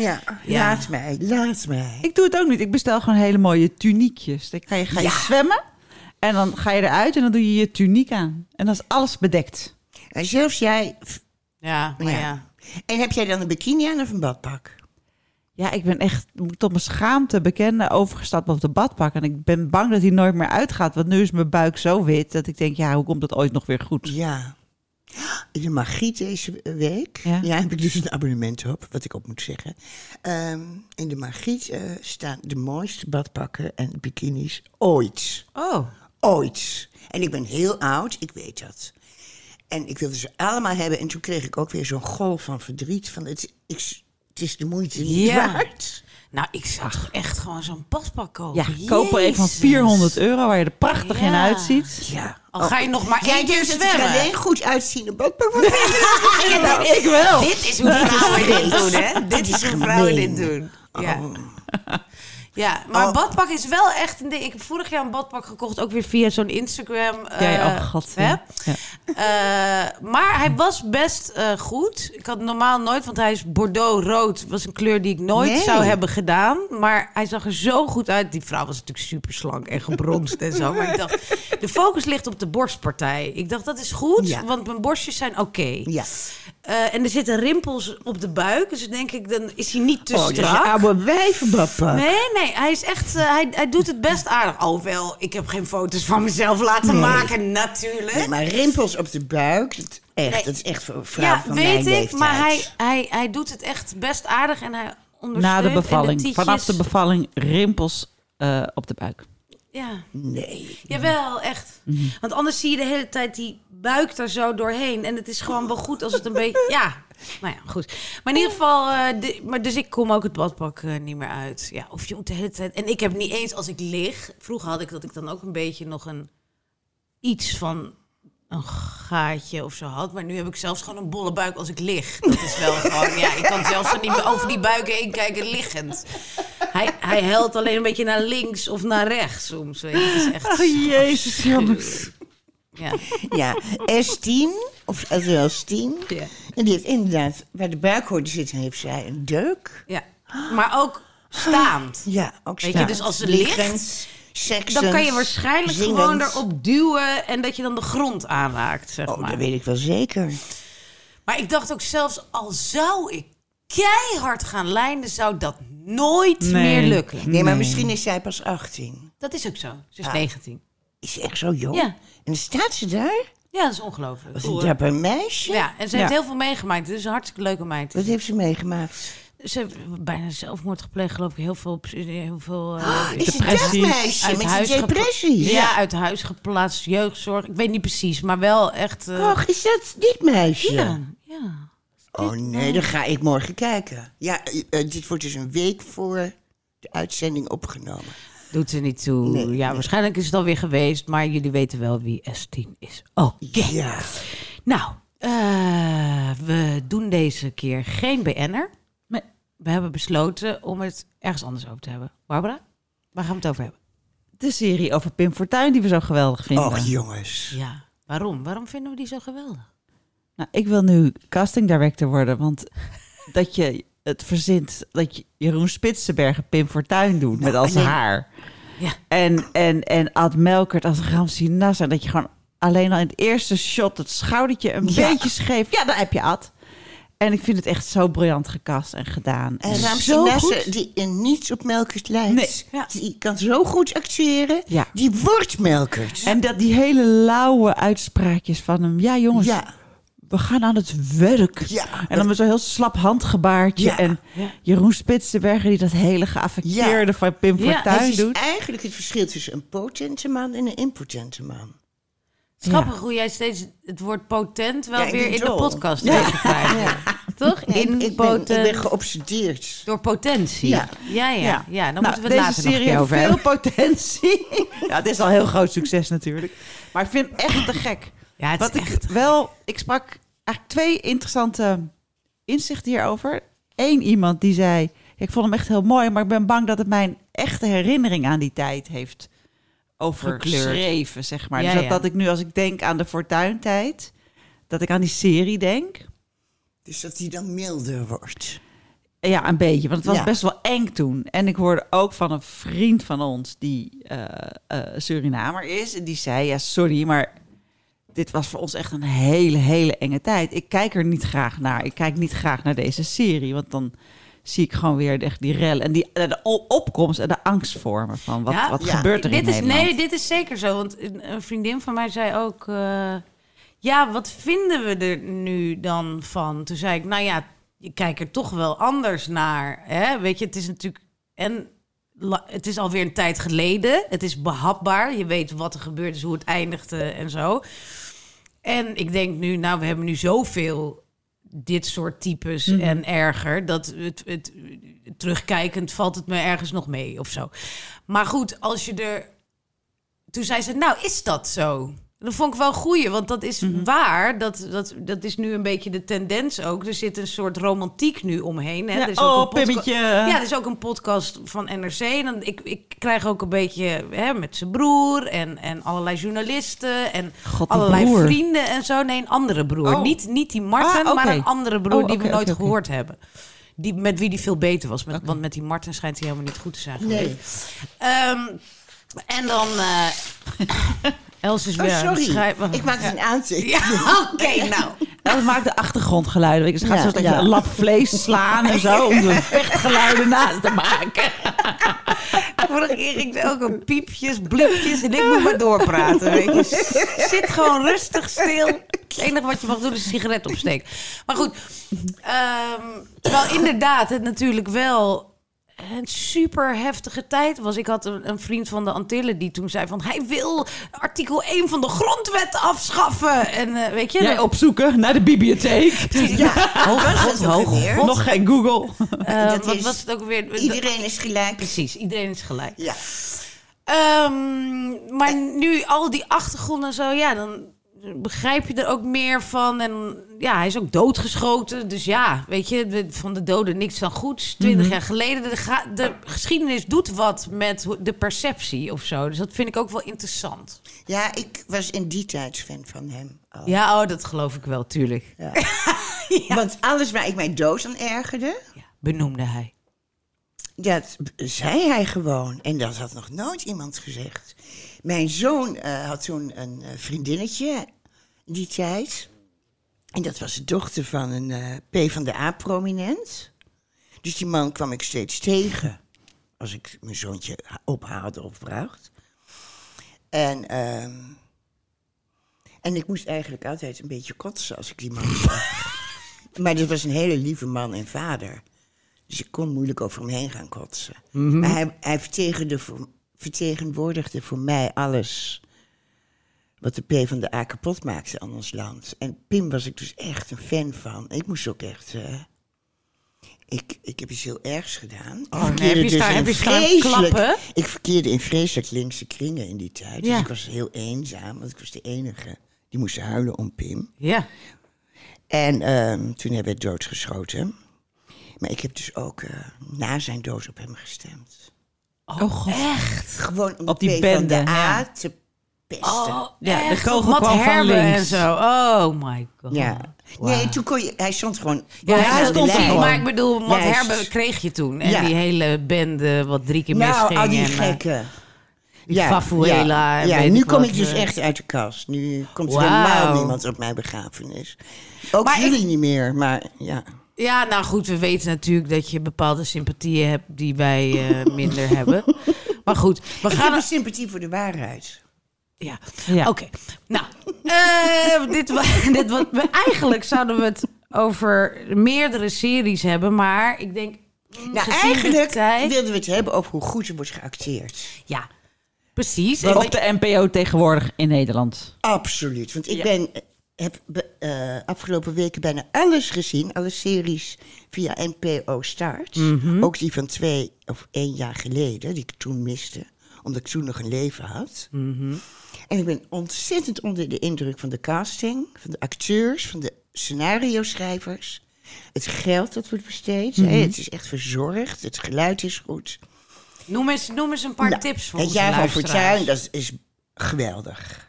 A: Ja, laat mij, laat mij.
B: Ik doe het ook niet. Ik bestel gewoon hele mooie tuniekjes. Dan ga je, ga je zwemmen en dan ga je eruit en dan doe je je tuniek aan. En dan is alles bedekt.
A: En zelfs jij...
C: Ja, maar ja.
A: En heb jij dan een bikini aan of een badpak?
B: Ja, ik ben echt tot mijn schaamte bekende overgestapt op de badpak. En ik ben bang dat hij nooit meer uitgaat. Want nu is mijn buik zo wit dat ik denk, ja, hoe komt dat ooit nog weer goed?
A: Ja. In de magie deze week. Ja.
B: Ja.
A: heb ik dus een abonnement op, wat ik op moet zeggen. Ehm, in de Margriet eh, staan de mooiste badpakken en bikinis ooit.
B: Oh.
A: Ooit. En ik ben heel oud, ik weet dat. En ik wilde ze allemaal hebben. En toen kreeg ik ook weer zo'n golf van verdriet. Van het, ik, het is de moeite niet
C: Ja.
A: waard.
C: Nou, ik zou toch echt gewoon zo'n paspak kopen.
B: Ja, koop er even van
C: Jezus.
B: 400 euro waar je er prachtig in
C: Ja.
B: uitziet.
A: Ja.
C: Al ga je nog maar
A: Oh. Jij
C: één keer
A: denkt dat ik
C: zwemmen.
A: alleen goed uitziende badpak moet hebben?
B: ik wel.
C: Dit is hoe vrouwen dit doen, hè?
A: Dit
C: Dit
A: is
C: is hoe vrouwen
A: gemeen.
C: dit doen. Ja.
B: Oh.
C: Ja, maar een badpak is wel echt een ding. Ik heb vorig jaar een badpak gekocht, ook weer via zo'n Instagram.
B: Ja,
C: eh,
B: ja, oh, god,
C: hè?
B: ja. Ja.
C: Eh, maar hij was best eh, goed. Ik had normaal nooit, want hij is bordeaux-rood. was een kleur die ik nooit
A: Nee.
C: zou hebben gedaan. Maar hij zag er zo goed uit. Die vrouw was natuurlijk super slank en gebronst en zo. Maar ik dacht, de focus ligt op de borstpartij. Ik dacht, dat is goed,
A: Ja.
C: want mijn borstjes zijn oké.
A: Ja.
C: Eh, en er zitten rimpels op de buik. Dus denk ik, dan is hij niet te
A: Oh, dat is een
C: strak.
A: oude wijvenbadpak.
C: Nee, nee, hij is echt, eh, hij, hij doet het best aardig. Alhoewel, ik heb geen foto's van mezelf laten maken, natuurlijk.
A: Nee, maar rimpels op de buik, dat, echt,
C: Nee.
A: dat is echt voor een vrouw
C: ja,
A: van mijn
C: weet ik,
A: leeftijd.
C: maar hij, hij, hij doet het echt best aardig en hij
B: Na
C: ondersteunt
B: de
C: en
B: bevalling.
C: tietjes-
B: Vanaf de bevalling rimpels eh, op de buik.
C: Ja,
A: Nee. Mhm.
C: jawel, echt. Want anders zie je de hele tijd die buikt er zo doorheen. En het is gewoon wel goed als het een beetje... Ja, nou ja, goed. Maar in ieder geval... eh, de- maar dus ik kom ook het badpak eh, niet meer uit. Ja, of je moet de hele tijd... En ik heb niet eens als ik lig... Vroeger had ik dat ik dan ook een beetje nog een... Iets van een gaatje of zo had. Maar nu heb ik zelfs gewoon een bolle buik als ik lig. Dat is wel gewoon... Ja, ik kan zelfs er niet meer over die buiken heen kijken liggend. Hij, hij huilt alleen een beetje naar links of naar rechts soms. Weet je. Het is echt
B: Oh, jezus, jongens.
C: ja.
A: Ja, S10, of als 10.
C: Ja.
A: En die heeft inderdaad, waar de buikhoorde zit, heeft zij een deuk.
C: ja. Maar ook staand.
A: Ja, ook
C: Weet je,
A: staand.
C: dus als ze
A: Liggend,
C: ligt,
A: seksend,
C: Dan kan je waarschijnlijk
A: zingend.
C: gewoon erop duwen en dat je dan de grond aanraakt, zeg
A: Oh, dat
C: maar.
A: weet ik wel zeker.
C: Maar ik dacht ook zelfs, al zou ik keihard gaan lijnen, zou dat nooit
B: Nee.
C: meer lukken.
A: Nee, maar misschien is zij pas 18.
C: Dat is ook zo. Ze is 19.
A: Is ze echt zo jong?
C: Ja.
A: En dan staat ze daar.
C: Ja, dat is ongelooflijk.
A: Wat een dapper meisje.
C: Ja, en ze heeft heel veel meegemaakt. Dus een hartstikke leuke meid.
A: Wat heeft ze meegemaakt?
C: Ze heeft bijna zelfmoord gepleegd, geloof ik. Heel veel... ps- Heel veel eh,
A: Ah, Is het dat
B: Depressies.
A: meisje met die
C: gepla-
A: depressies?
C: Ja, uit huis geplaatst, jeugdzorg. Ik weet niet precies, maar wel echt... eh,
A: Och, is dat dit meisje?
C: ja, ja.
A: Oh nee, dan ga ik morgen kijken. Ja, eh, eh, dit wordt dus een week voor de uitzending opgenomen.
C: Doet er niet toe.
A: Nee,
C: ja,
A: nee.
C: waarschijnlijk is het alweer geweest, maar jullie weten wel wie S10 is. Oké.
A: Ja.
C: Nou, eh, we doen deze keer geen BN'er.
B: Nee.
C: We hebben besloten om het ergens anders over te hebben. Barbara, waar gaan we het over hebben?
B: De serie over Pim Fortuyn die we zo geweldig vinden.
A: Och jongens.
C: Ja, waarom? Waarom vinden we die zo geweldig?
B: Nou, ik wil nu casting director worden, want dat je het verzint dat je Jeroen Spitsenbergen Pim Fortuyn doet met als
A: nee.
B: haar.
C: Ja.
B: En, en, en Ad Melkert als Ramsi Nasser. Dat je gewoon alleen al in het eerste shot het schoudertje een
A: Ja.
B: beetje scheef. Ja, daar heb je Ad. En ik vind het echt zo briljant gekast en gedaan.
A: En Ramse
B: zo
A: Nasser,
B: goed.
A: die in niets op Melkert lijkt.
B: Nee,
C: ja.
A: Die kan zo goed acteren.
B: Ja.
A: Die wordt Melkert.
B: En dat die hele lauwe uitspraakjes van hem. Ja, jongens.
A: Ja.
B: We gaan aan het werk.
A: Ja.
B: En dan met zo'n heel slap handgebaartje.
A: Ja.
B: En
C: Ja.
B: Jeroen Spitsenberger die dat hele geaffecteerde
A: Ja.
B: van Pim
C: Ja,
B: Fortuyn
A: Het is
B: doet.
A: eigenlijk het verschil tussen een potente man en een impotente man.
C: Het is grappig hoe jij steeds het woord potent wel
A: Ja, ik
C: weer
A: ben
C: in de
A: dol.
C: podcast heeft gekregen. Toch?
A: Ik,
C: In
A: ik, ben, ik
C: potent.
A: ben geobsedeerd.
C: Door potentie. Ja,
A: Ja.
C: ja, ja.
B: Ja.
C: dan
B: Nou,
C: moeten we het
B: deze
C: later nog een
B: serie
C: keer over
B: heeft
C: hebben.
B: veel potentie. ja, het is al een heel groot succes natuurlijk. Maar ik vind het echt te gek.
C: Ja, het is
B: Wat ik
C: echt te
B: wel, ik sprak eigenlijk twee interessante inzichten hierover. Eén iemand die zei, ik vond hem echt heel mooi, maar ik ben bang dat het mijn echte herinnering aan die tijd heeft overgeschreven, zeg maar.
C: Ja,
B: dus dat,
C: ja.
B: dat ik nu, als ik denk aan de fortuintijd, dat ik aan die serie denk.
A: Dus dat hij dan milder wordt.
B: Ja, een beetje. Want het was
A: Ja.
B: best wel eng toen. En ik hoorde ook van een vriend van ons die eh, eh, Surinamer is. En die zei, ja, sorry, maar dit was voor ons echt een hele, hele enge tijd. Ik kijk er niet graag naar. Ik kijk niet graag naar deze serie. Want dan zie ik gewoon weer echt die rel. En die, eh, de o- opkomst en de angst voor me. Van wat,
C: Ja,
B: wat
A: ja.
B: gebeurt er
C: dit
B: in
C: is,
B: Nederland?
C: Nee, dit is zeker zo. Want een, een vriendin van mij zei ook... eh, ja, wat vinden we er nu dan van? Toen zei ik, nou ja, je kijkt er toch wel anders naar. Hè? Weet je, het is natuurlijk... En la- het is alweer een tijd geleden. Het is behapbaar. Je weet wat er gebeurd is, hoe het eindigde en zo. En ik denk nu, nou, we hebben nu zoveel dit soort types
B: Mhm.
C: en erger. Dat het, het, terugkijkend valt het me ergens nog mee of zo. Maar goed, als je er. Toen zei ze, nou, is dat zo? Dat vond ik wel goeie, want dat is
B: Mhm.
C: waar. Dat, dat, dat is nu een beetje de tendens ook. Er zit een soort romantiek nu omheen. Hè?
B: Ja,
C: er is
B: oh,
C: een podca-
B: Pimmetje.
C: Ja, er is ook een podcast van NRC. En dan- ik, ik krijg ook een beetje hè, met zijn broer en, en allerlei journalisten en
B: God, die
C: allerlei
B: broer.
C: vrienden en zo. Nee, een andere broer.
B: Oh.
C: Niet, niet die Marten,
B: Ah, oké.
C: maar een andere broer
B: Oh,
C: die we
B: oké,
C: nooit
B: oké, oké.
C: gehoord hebben. Die, met wie die veel beter was. Met, Want met die Marten schijnt hij helemaal niet goed te zijn geweest.
A: Nee. Oh,
C: Ehm, en dan... eh Els is weer
A: Oh,
C: aan het
A: sorry.
C: schrijven.
A: Ik maak een aantekening.
C: Ja, oké, nou.
B: Ja, dat maakt de achtergrondgeluiden. Weet je, Ze gaat
A: Ja,
B: zo dat
A: ja.
B: je een lap vlees slaan en zo. Om de vechtgeluiden naast te maken.
C: Vorige keer ging ze ook een piepjes, blipjes en ik moet maar doorpraten. Weet je. Zit gewoon rustig stil. Het enige wat je mag doen is een sigaret opsteken. Maar goed, ehm, terwijl inderdaad het natuurlijk wel een super heftige tijd was. Ik had een, een vriend van de Antillen die toen zei van... hij wil artikel 1 van de grondwet afschaffen. En eh, weet je...
B: Jij
C: dat-
B: opzoeken naar de bibliotheek.
A: Ja,
D: Hoog, hoog, hoog.
B: Nog geen Google.
C: eh,
A: dat
C: wat
A: is-
C: was het ook weer?
A: Iedereen is gelijk.
C: Precies, iedereen is gelijk.
A: Ja.
C: Ehm, maar nu al die achtergrond en zo, ja, dan begrijp je er ook meer van. En ja, hij is ook doodgeschoten. Dus ja, weet je, de- van de doden niks dan goeds. Twintig jaar geleden, de, ga- de geschiedenis doet wat met ho- de perceptie of zo. Dus dat vind ik ook wel interessant.
A: ja, ik was in die tijd fan van hem. al.
C: Ja, oh, dat geloof ik wel, tuurlijk.
A: Want alles waar ik mij dood aan ergerde,
C: Ja, benoemde hij.
A: dat b- zei hij gewoon. En dat had nog nooit iemand gezegd. Mijn zoon eh, had toen een eh, vriendinnetje die tijd. En dat was de dochter van een eh P van de A-prominent. Dus die man kwam ik steeds tegen als ik mijn zoontje ha- ophaalde of bracht. En, ehm, en ik moest eigenlijk altijd een beetje kotsen als ik die man zag. maar dat was een hele lieve man en vader. Dus ik kon moeilijk over hem heen gaan kotsen.
C: Mhm.
A: Maar hij, hij vertegenwoordigde, voor, vertegenwoordigde voor mij alles wat de P van de A kapot maakte aan ons land. En Pim was ik dus echt een fan van. Ik moest ook echt. eh, ik, ik heb iets heel ergs gedaan.
C: Oh,
A: dus
C: nee, heb je staan- heb je staan klappen?
A: Ik verkeerde in vreselijk linkse kringen in die tijd. Dus
C: Ja.
A: ik was heel eenzaam, want ik was de enige die moest huilen om Pim.
C: Ja.
A: En ehm, toen hij werd doodgeschoten. Maar ik heb dus ook eh, na zijn dood op hem gestemd.
C: Oh, echt?
A: Gewoon om
B: Op die
A: P van
B: bende,
A: de A
B: ja.
A: te pesten.
C: Oh,
B: Ja, de
C: echt?
B: kogel
C: Matt
B: kwam van
C: Herben
B: links.
C: en zo. Oh my god.
A: Ja. Nee, toen kon je, hij stond gewoon.
C: Ja,
A: bovenaan
B: hij
A: de
B: stond er
A: lijn.
B: gewoon.
C: maar ik bedoel, wat
A: Juist.
C: Herben kreeg je toen. En
A: Ja.
C: die hele bende wat drie keer
A: Nou,
C: misging.
A: al die
C: en, eh,
A: gekken.
C: die Fafuela en
A: Ja,
C: weet
A: nu
C: ik
A: kom
C: wat,
A: ik dus
C: eh.
A: echt uit de kast. Nu komt er
C: Wauw.
A: helemaal niemand op mijn begrafenis. Ook
C: Maar ik-
A: jullie niet meer, maar ja.
C: Ja, nou goed, we weten natuurlijk dat je bepaalde sympathieën hebt die wij eh, minder hebben. Maar goed, we
A: Ik heb
C: gaan...
A: een sympathie voor de waarheid.
C: Ja,
B: Ja.
C: oké. Nou, eh, dit, wa- dit wat, we, eigenlijk zouden we het over meerdere series hebben, maar ik denk... mm,
A: Nou,
C: gezien de
A: eigenlijk
C: tijd-
A: wilden we het hebben over hoe goed er wordt geacteerd.
C: Ja, precies. En
B: Op de NPO tegenwoordig in Nederland.
A: Absoluut. Want ik ben, heb be- eh, afgelopen weken bijna alles gezien. Alle series via NPO Start. Ook die van twee of één jaar geleden, die ik toen miste. Omdat ik toen nog een leven had. En ik ben ontzettend onder de indruk van de casting, van de acteurs, van de scenario-schrijvers. Het geld dat wordt besteed. hè, Het is echt verzorgd. Het geluid is goed.
C: noem, eens, noem eens een paar
A: Nou,
C: tips voor
A: Het
C: onze
A: jaar van
C: luisteraars.
A: Fortuin, dat is geweldig.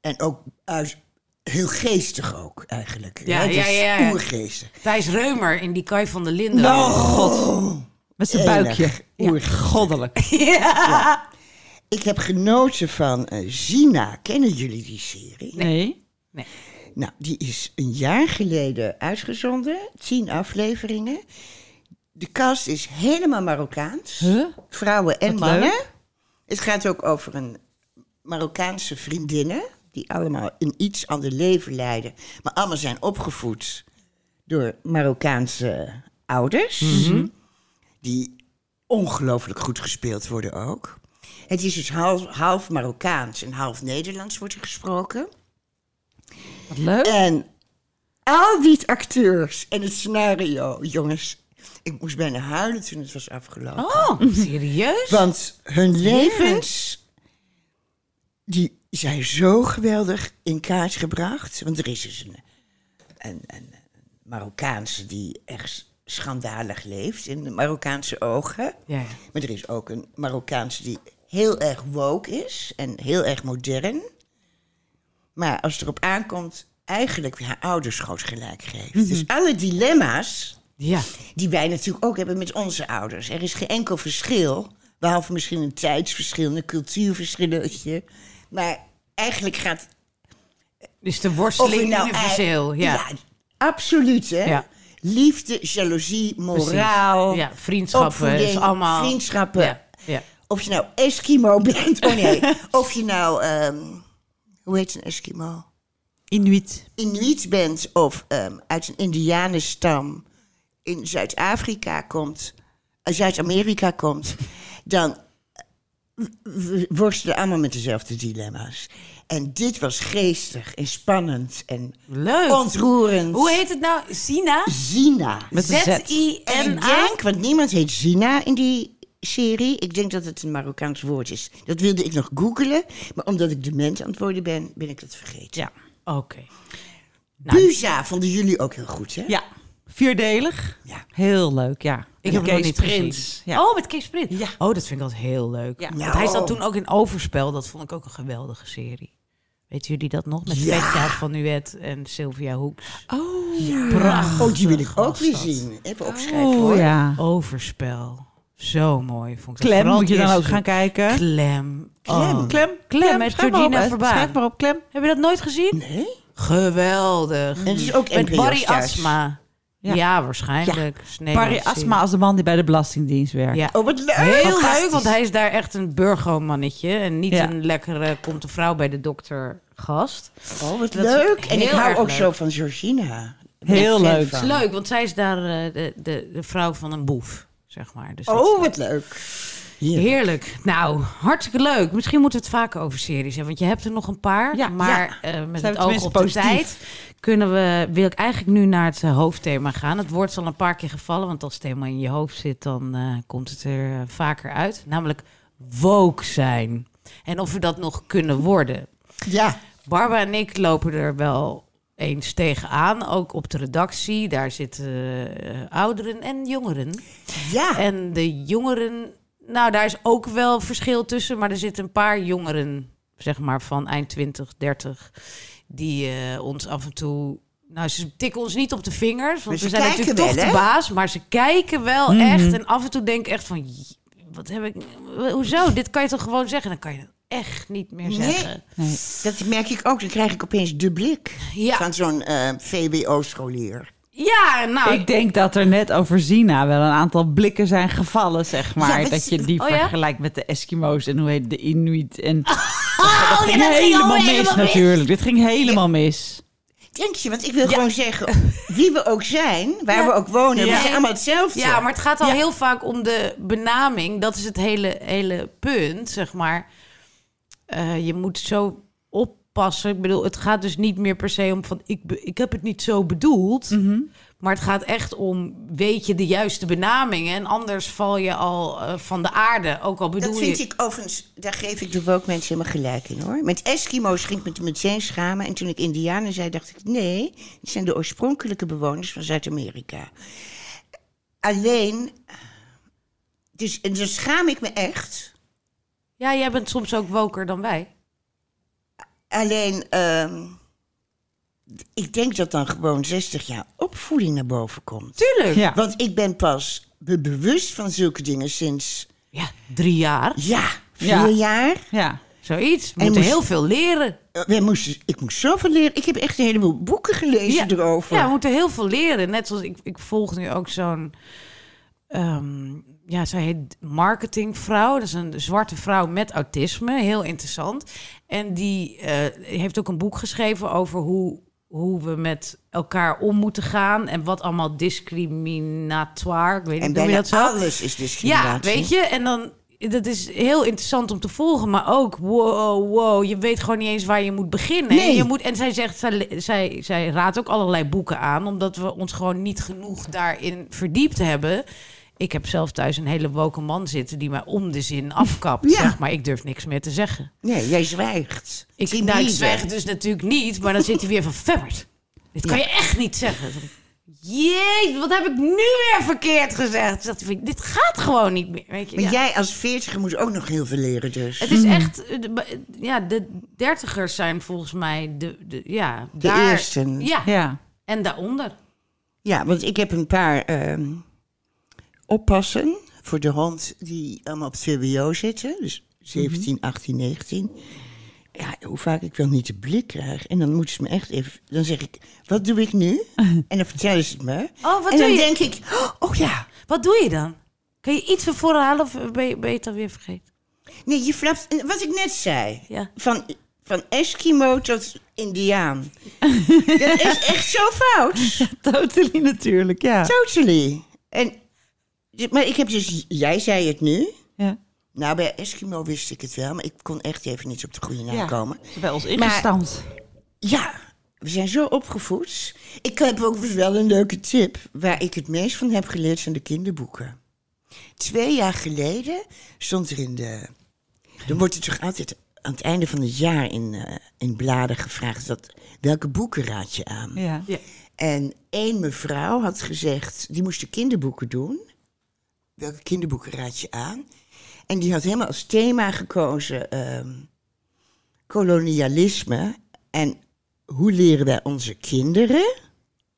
A: En ook uit- heel geestig ook, eigenlijk.
C: Ja,
A: hè?
C: ja,
A: Het is
C: ja, ja.
A: Oergeestig. Oh.
C: Thijs Reumer in die Kai van der Linden.
A: Nou,
B: Met zijn
A: Enig.
B: buikje. Ja. Goddelijk.
A: Ik heb genoten van eh, Zina. Kennen jullie die serie?
B: Nee.
A: Nou, die is een jaar geleden uitgezonden. Tien afleveringen. De cast is helemaal Marokkaans.
B: Huh?
A: Vrouwen en
B: Wat
A: mannen.
B: leuk.
A: Het gaat ook over een Marokkaanse vriendinnen... die allemaal een iets ander leven leiden... maar allemaal zijn opgevoed door Marokkaanse ouders...
B: Mhm.
A: die ongelooflijk goed gespeeld worden ook. Het is dus half, half Marokkaans en half Nederlands wordt er gesproken...
B: Wat leuk.
A: En al die acteurs en het scenario, jongens. Ik moest bijna huilen toen het was afgelopen.
C: Oh, serieus?
A: Want hun levens, die zijn zo geweldig in kaart gebracht. Want er is dus een, een, een Marokkaanse die echt schandalig leeft in de Marokkaanse ogen.
C: Ja, ja.
A: Maar er is ook een Marokkaanse die heel erg woke is en heel erg modern. Maar als het erop aankomt, eigenlijk haar ouders groot gelijk geeft. Dus alle dilemma's
C: Ja.
A: die wij natuurlijk ook hebben met onze ouders. Er is geen enkel verschil, behalve misschien een tijdsverschil, een cultuurverschilletje. Maar eigenlijk gaat
C: Dus de
A: of
C: worsteling
A: je nou
C: universeel.
A: ei-
C: Ja.
A: absoluut hè.
C: Ja.
A: Liefde, jaloezie,
C: precies.
A: moraal,
C: Ja, vriendschappen.
A: opvoeding,
C: Is allemaal...
A: vriendschappen.
C: Ja, ja.
A: Of je nou Eskimo bent, oh nee. of je nou, ehm, hoe heet een Eskimo?
B: Inuit.
A: Inuit bent of ehm, uit een Indianenstam in Zuid-Afrika komt. als je uit Amerika komt, dan we worstelen allemaal met dezelfde dilemma's. En dit was geestig en spannend en
E: Leuk.
A: ontroerend.
E: Hoe heet het nou? Sina?
A: Zina.
B: Met een Z.
A: En ik
E: Z-I-N-A?
A: denk, want niemand heet Zina in die serie. Ik denk dat het een Marokkaans woord is. Dat wilde ik nog googelen, maar omdat ik dement aan het worden ben, ben ik dat vergeten.
B: Ja.
C: Oké.
A: Buza vonden jullie ook heel goed, hè?
B: ja. Vierdelig.
A: Ja.
B: Heel leuk, ja.
C: Ik heb
B: Kees
C: hem nog niet
B: Prins.
C: gezien.
B: Ja.
C: Oh, met Kees Prins.
B: Ja.
C: Oh, dat vind ik altijd heel leuk.
B: Ja. Oh.
C: Want hij
A: Nou,
C: zat toen ook in Overspel. Dat vond ik ook een geweldige serie. Weten jullie dat nog? Met Vetjaard van Nuet en Sylvia Hoeks.
B: Oh.
A: Prachtig. Oh, die wil ik
C: was
A: ook weer
C: dat.
A: zien. Even opschrijven, hoor.
B: Oh ja.
C: Overspel. Zo mooi. Vond ik dat.
B: Klem
C: Vooral
B: moet je
C: het
B: dan ook
C: eerste
B: gaan kijken.
C: seizoen. Klem.
A: Klem.
C: Oh.
B: Klem. Klem.
C: met
B: Schrijf maar op,
C: Georgina
B: hè.
C: Verbaan.
B: Schrijf maar op, Klem.
C: Heb je dat nooit gezien?
A: Nee?
C: Geweldig.
A: En het is ook
C: Hm. Met
A: NPO
C: Barry
A: thuis.
C: Asma.
B: Ja.
C: Ja, waarschijnlijk. Ja.
B: Barry Asma als de man die bij de Belastingdienst werkt.
C: Ja.
A: Oh, wat leuk.
C: Heel
A: Fantastisch.
C: leuk, want hij is daar echt een burgomannetje. En niet
B: Ja.
C: een lekkere komt de vrouw bij de dokter gast.
A: Oh, wat
C: Dat is
A: leuk. En ik
C: heel
A: hou
C: erg
A: ook
C: leuk.
A: zo van Georgina. Ik ben
B: Heel
A: fan
B: leuk.
C: Het
A: van.
C: is leuk, want zij is daar eh, de, de, de vrouw van een boef, zeg maar. Dus dat-
A: Oh, wat leuk. Hier.
C: Heerlijk. Nou, hartstikke leuk. Misschien moeten we het vaker over series hebben, want je hebt er nog een paar.
B: Ja,
C: maar eh, met het
B: Zijn we
C: oog
B: tenminste
C: op
B: positief.
C: de tijd kunnen we, wil ik eigenlijk nu naar het eh, hoofdthema gaan. Het woord is al een paar keer gevallen, want als het eenmaal in je hoofd zit, dan eh, komt het er eh, vaker uit. Namelijk woke zijn. En of we dat nog kunnen worden.
A: Ja.
C: Barbara en ik lopen er wel eens tegenaan, ook op de redactie. Daar zitten eh, ouderen en jongeren.
A: Ja.
C: En de jongeren, nou daar is ook wel verschil tussen, maar er zitten een paar jongeren, zeg maar van eind 20, 30, die eh, ons af en toe. Nou, ze tikken ons niet op de vingers, want
A: ze
C: we zijn
A: kijken
C: natuurlijk toch
A: wel,
C: de
A: hè? Mhm.
C: baas. Maar ze kijken wel echt. En af en toe denk ik echt van, "Jee, wat heb ik... Hoezo? Dit kan je toch gewoon zeggen? Dan kan je dat echt niet meer
A: Nee.
C: zeggen.
A: Dat merk ik ook. Dan krijg ik opeens de blik
C: Ja.
A: van zo'n eh, VWO-scholier.
C: Ja, nou...
B: Ik denk dat er net over Zina wel een aantal blikken zijn gevallen, zeg maar.
A: Ja, dat
B: dat je die
C: oh ja?
B: vergelijkt met de Eskimo's en hoe heet de Inuit. En
C: Oh, ja,
B: ging
C: dat ging
B: helemaal
C: allemaal
B: mis natuurlijk. Dit ging helemaal mis.
A: Denk je, want ik wil gewoon zeggen, wie we ook zijn, waar we ook wonen, we
C: Ja.
A: zijn allemaal hetzelfde.
C: Ja, maar het gaat al heel vaak om de benaming. Dat is het hele, hele punt, zeg maar. Eh, je moet zo oppassen. Ik bedoel, het gaat dus niet meer per se om van... ik, be- ik heb het niet zo bedoeld. Maar het gaat echt om, weet je de juiste benamingen? En anders val je al eh, van de aarde. Ook al bedoel
A: dat vind
C: je...
A: ik overigens, daar geef ik de woke mensen helemaal gelijk in hoor. Met Eskimo's ging ik me meteen schamen. En toen ik Indianen zei, dacht ik, nee, het zijn de oorspronkelijke bewoners van Zuid-Amerika. Alleen, dus, en dan schaam ik me echt.
C: Ja, jij bent soms ook woker dan wij.
A: Alleen, ehm, ik denk dat dan gewoon 60 jaar opvoeding naar boven komt.
C: Tuurlijk. Ja,
B: Ja.
A: Want ik ben pas be- bewust van zulke dingen sinds,
C: drie jaar.
A: ja, vier
B: Ja.
A: jaar.
B: Ja.
C: Zoiets. We
A: En
C: moeten
A: moest-
C: heel veel leren.
A: Eh, Wij moesten, ik moest zoveel leren. Ik heb echt een heleboel boeken gelezen erover.
C: Ja, we moeten heel veel leren. Net zoals ik, ik volg nu ook zo'n. ehm, ja, zij heet marketingvrouw. Dat is een zwarte vrouw met autisme. Heel interessant. En die eh, heeft ook een boek geschreven over hoe, hoe we met elkaar om moeten gaan. En wat allemaal discriminatoire. Ik weet
A: en
C: niet, noem je
A: bijna
C: dat zo?
A: alles is dus
C: Ja,
A: discriminatie.
C: weet je, en dan. Dat is heel interessant om te volgen, maar ook wow, wow, je weet gewoon niet eens waar je moet beginnen.
A: Nee.
C: Je moet, en zij zegt, zij, le- zij, zij raadt ook allerlei boeken aan, omdat we ons gewoon niet genoeg daarin verdiept hebben. Ik heb zelf thuis een hele woke man zitten die mij om de zin afkapt,
A: Ja.
C: zeg maar. Ik durf niks meer te zeggen.
A: Nee, jij zwijgt.
C: Ik,
A: Timide.
C: nou, ik zwijg dus natuurlijk niet, maar dan zit hij weer van Femmert. Dit kan je echt niet zeggen. Jee, wat heb ik nu weer verkeerd gezegd? Zegt hij van, Dit gaat gewoon niet meer. Weet je,
A: Maar
C: ja.
A: jij als veertiger moet ook nog heel veel leren dus.
C: Het is echt, eh, de- eh, ja, de dertigers zijn volgens mij de, de ja,
A: De eersten.
C: Ja,
B: Ja.
C: en daaronder.
A: Ja, want ik heb een paar ehm, oppassen voor de hond die allemaal op het VWO zitten. Dus
C: Mhm.
A: 17, 18, 19. Ja, hoe vaak ik wel niet de blik krijg. En dan moeten ze me echt even... Dan zeg ik, wat doe ik nu? En dan vertellen ze het me.
C: Oh, wat
A: en
C: doe
A: dan
C: je?
A: denk ik, oh ja.
C: Wat doe je dan? Kun je iets van voren halen of ben je, ben je het alweer vergeten?
A: Nee, je flapt... en Wat ik net zei.
C: Ja.
A: Van, van Eskimo tot Indiaan. dat is echt zo fout.
B: Totally natuurlijk, ja.
A: Totally. En Ja, Maar ik heb dus, jij zei het nu.
B: Ja.
A: Nou, bij Eskimo wist ik het wel, maar ik kon echt even niet op de goede naam
B: ja.
A: komen.
B: Bij ons ingestampt.
A: Ja, we zijn zo opgevoed. Ik heb ook dus wel een leuke tip. Waar ik het meest van heb geleerd zijn de kinderboeken. Twee jaar geleden stond er in de. Dan wordt er toch altijd aan het einde van het jaar in, eh, in bladen gevraagd: dat, welke boeken raad je aan?
B: Ja. ja.
A: En één mevrouw had gezegd, die moest de kinderboeken doen. Welke kinderboeken raad je aan? En die had helemaal als thema gekozen ehm, kolonialisme. En hoe leren wij onze kinderen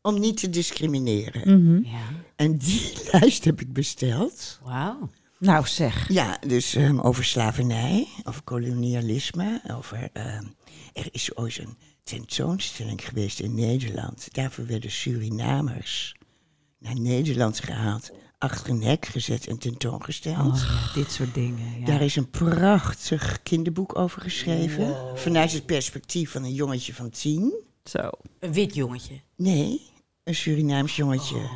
A: om niet te discrimineren?
C: Ja.
A: En die lijst heb ik besteld.
C: Wauw.
B: Nou zeg.
A: Ja, dus ehm, over slavernij, over kolonialisme, over... ehm, er is ooit een tentoonstelling geweest in Nederland. Daarvoor werden Surinamers naar Nederland gehaald, achter een hek gezet en tentoongesteld.
B: Oh,
C: dit soort dingen. Ja.
A: Daar is een prachtig kinderboek over geschreven. Vanuit het perspectief van een jongetje van tien.
B: Zo.
C: Een wit jongetje.
A: Nee, een Surinaams jongetje.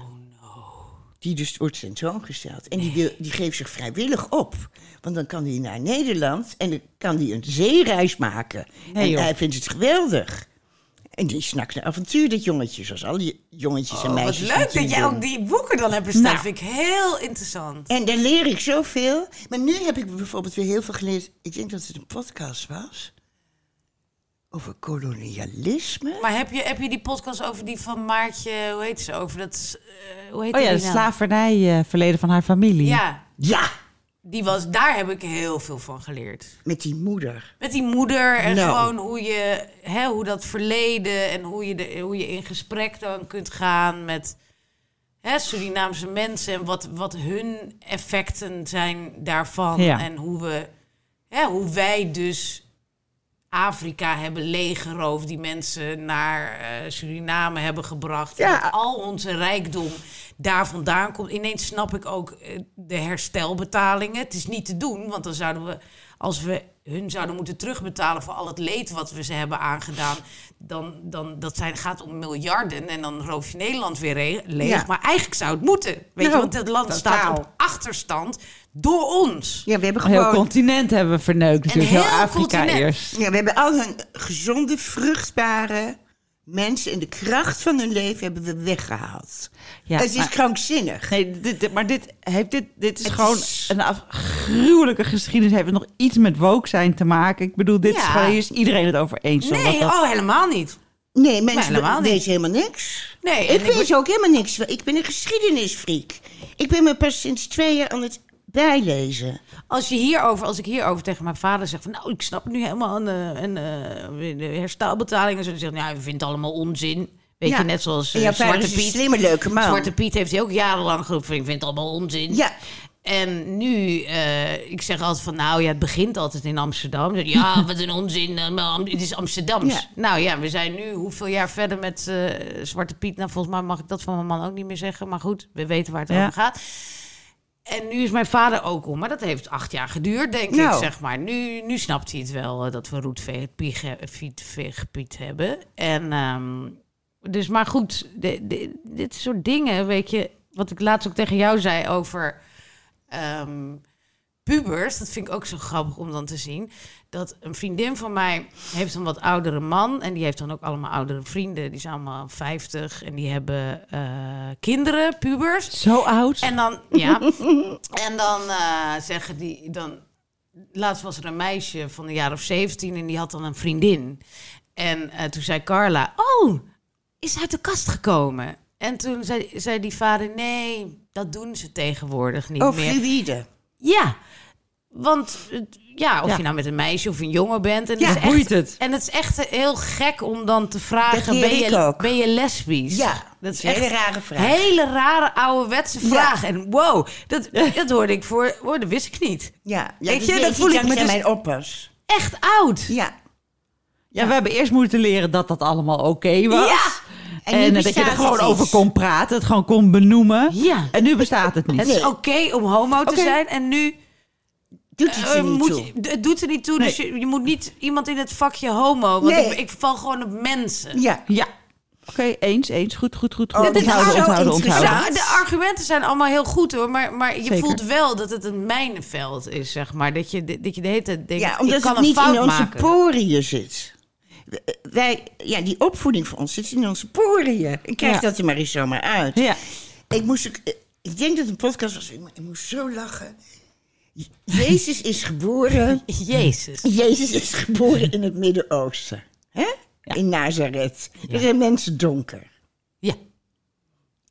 A: Die dus wordt tentoongesteld. En die, wil, die geeft zich vrijwillig op. Want dan kan hij naar Nederland en dan kan hij een zeereis maken. en
B: joh.
A: hij vindt het geweldig. En die snakt naar avontuur, dat jongetje. Zoals al die jongetjes en
C: Wat
A: meisjes.
C: leuk dat jij
A: natuurlijk
C: ook die boeken dan hebt besteld. Vind ik heel interessant.
A: en daar leer ik zoveel. Maar nu heb ik bijvoorbeeld weer heel veel geleerd. Ik denk dat het een podcast was. Over kolonialisme.
C: Maar heb je, heb je die podcast over die van Maartje, hoe heet ze? Over dat. s- eh, hoe heet
B: Oh ja,
C: die
B: het
C: nou?
B: slavernijverleden van haar familie.
C: Ja,
A: Ja,
C: die was, daar heb ik heel veel van geleerd.
A: met die moeder.
C: Met die moeder en
A: Nou.
C: gewoon hoe je, hè, hoe dat verleden en hoe je, de, hoe je in gesprek dan kunt gaan met hè, Surinaamse mensen en wat, wat hun effecten zijn daarvan.
B: Ja.
C: En hoe, we, hè, hoe wij dus Afrika hebben leeggeroofd, die mensen naar eh, Suriname hebben gebracht. En
A: Ja.
C: dat al onze rijkdom daar vandaan komt. Ineens snap ik ook eh, de herstelbetalingen. Het is niet te doen, want dan zouden we, als we hun zouden moeten terugbetalen voor al het leed wat we ze hebben aangedaan, dan, dan dat zijn, gaat om miljarden en dan roof je Nederland weer re- leeg.
A: Ja.
C: Maar eigenlijk zou het moeten, weet je,
A: Nou,
C: want het land staat
A: totaal.
C: op achterstand door ons.
A: Ja, we hebben
B: Een Oh, heel
A: gewoon...
B: continent hebben we verneukt natuurlijk. Heel,
C: heel
B: Afrika
C: continent.
B: eerst.
A: Ja, we hebben al hun gezonde, vruchtbare mensen... en de kracht van hun leven hebben we weggehaald.
B: Ja,
A: het is
B: maar-
A: krankzinnig.
B: Nee, dit, dit- maar dit, heeft, dit, dit is
A: Het
B: gewoon
A: is-
B: een af- gruwelijke geschiedenis. Heeft het nog iets met woke zijn te maken? Ik bedoel, dit is
C: Ja.
B: gewoon, hier is iedereen het over eens. hoor,
C: Nee,
B: wat dat-
C: oh, helemaal niet.
A: Nee, mensen
C: Maar helemaal
A: be- weten helemaal niks.
C: Nee, en
A: ik
C: ik
A: weet ook helemaal niks. van- Ik ben een geschiedenisfreak. Ik ben me pas sinds twee jaar aan het bijlezen.
C: Als, je hierover, als ik hierover tegen mijn vader zeg van... nou, ik snap nu helemaal een, eh, een, eh, de herstelbetaling... en zo, dan zegt hij, nou, hij vindt het allemaal onzin. Weet
A: Ja.
C: je, net zoals eh,
A: En jouw vader
C: Zwarte
A: is een
C: Piet.
A: slimme, leuke man.
C: Zwarte Piet heeft hij ook jarenlang geroepen, van, ik vind het allemaal onzin.
A: Ja.
C: En nu, eh, ik zeg altijd van, nou ja, het begint altijd in Amsterdam. Dan zeg je, Ja, wat een onzin, eh, maar Am- het is Amsterdams.
A: Ja.
C: Nou ja, we zijn nu hoeveel jaar verder met eh, Zwarte Piet. Nou, volgens mij mag ik dat van mijn man ook niet meer zeggen. Maar goed, we weten waar het
B: Ja.
C: over gaat. En nu is mijn vader ook om, maar dat heeft acht jaar geduurd, denk
A: Nou.
C: ik, zeg maar. Nu, nu snapt hij het wel eh, dat we roetveegpiet hebben. En ehm, dus, maar goed, de- de- dit soort dingen, weet je, wat ik laatst ook tegen jou zei over ehm, pubers, dat vind ik ook zo grappig om dan te zien. Dat een vriendin van mij heeft een wat oudere man en die heeft dan ook allemaal oudere vrienden, die zijn allemaal 50 en die hebben eh, kinderen, pubers.
B: Zo oud.
C: En dan, ja. en dan eh, zeggen die, dan, laatst was er een meisje van een jaar of 17 en die had dan een vriendin. En eh, toen zei Carla, oh, is uit de kast gekomen. En toen zei, zei die vader, nee, dat doen ze tegenwoordig niet
A: Of
C: meer.
A: Oh, fluïde.
C: Ja, want het- ja, of
B: Ja.
C: je nou met een meisje of een jongen bent. En
B: Ja,
C: het is echt-
B: boeit het.
C: En het is echt heel gek om dan te vragen,
A: Dat leer
C: ben,
A: ik
C: je,
A: ook.
C: ben je lesbisch?
A: Ja, dat is een hele rare vraag.
C: Hele rare ouderwetse vraag. En wow, dat, dat hoorde ik voor, oh, dat wist ik niet.
A: Ja, ja
C: Weet
A: dat
C: je,
A: weet
C: dat voel ik me
A: dankzij
C: dus-
A: mijn oppers.
C: Echt oud.
A: Ja.
B: ja, we hebben eerst moeten leren dat dat allemaal oké was.
C: Ja.
B: En,
A: En nu
B: eh, dat je er
A: bestaat
B: gewoon
A: het
B: over
A: niet.
B: kon praten, het gewoon kon benoemen.
C: Ja.
B: En nu bestaat het niet.
C: Het is oké om homo te
B: Oké.
C: zijn en nu
A: Doet het
C: eh,
A: er niet
C: moet
A: toe.
C: je- d- het doet er niet toe. Dus je, je moet niet iemand in het vakje homo. Want
A: Nee.
C: ik, ik val gewoon op mensen.
A: Ja.
B: Ja. eens, eens. Goed, goed, goed. goed.
A: dit is
B: onthouden,
A: zo
B: onthouden, onthouden.
A: interessant.
C: Ja, de argumenten zijn allemaal heel goed hoor, maar, maar je
B: Zeker.
C: voelt wel dat het een mijnenveld is, zeg maar. Dat je, dat je de hele tijd denkt,
A: Ja, omdat
C: ik kan
A: het niet
C: een fout
A: in onze
C: maken.
A: poriën zit. Wij, ja, die opvoeding voor ons zit in onze poriën. Ik krijg
B: Ja.
A: dat er maar eens zomaar uit.
B: Ja.
A: Ik moest ook- eh, ik denk dat het een podcast was. Ik mo- ik moest zo lachen. Je- Jezus is geboren.
C: Jezus.
A: Jezus is geboren in het Midden-Oosten. Hè? In Nazareth. Er zijn mensen donker.
C: Ja.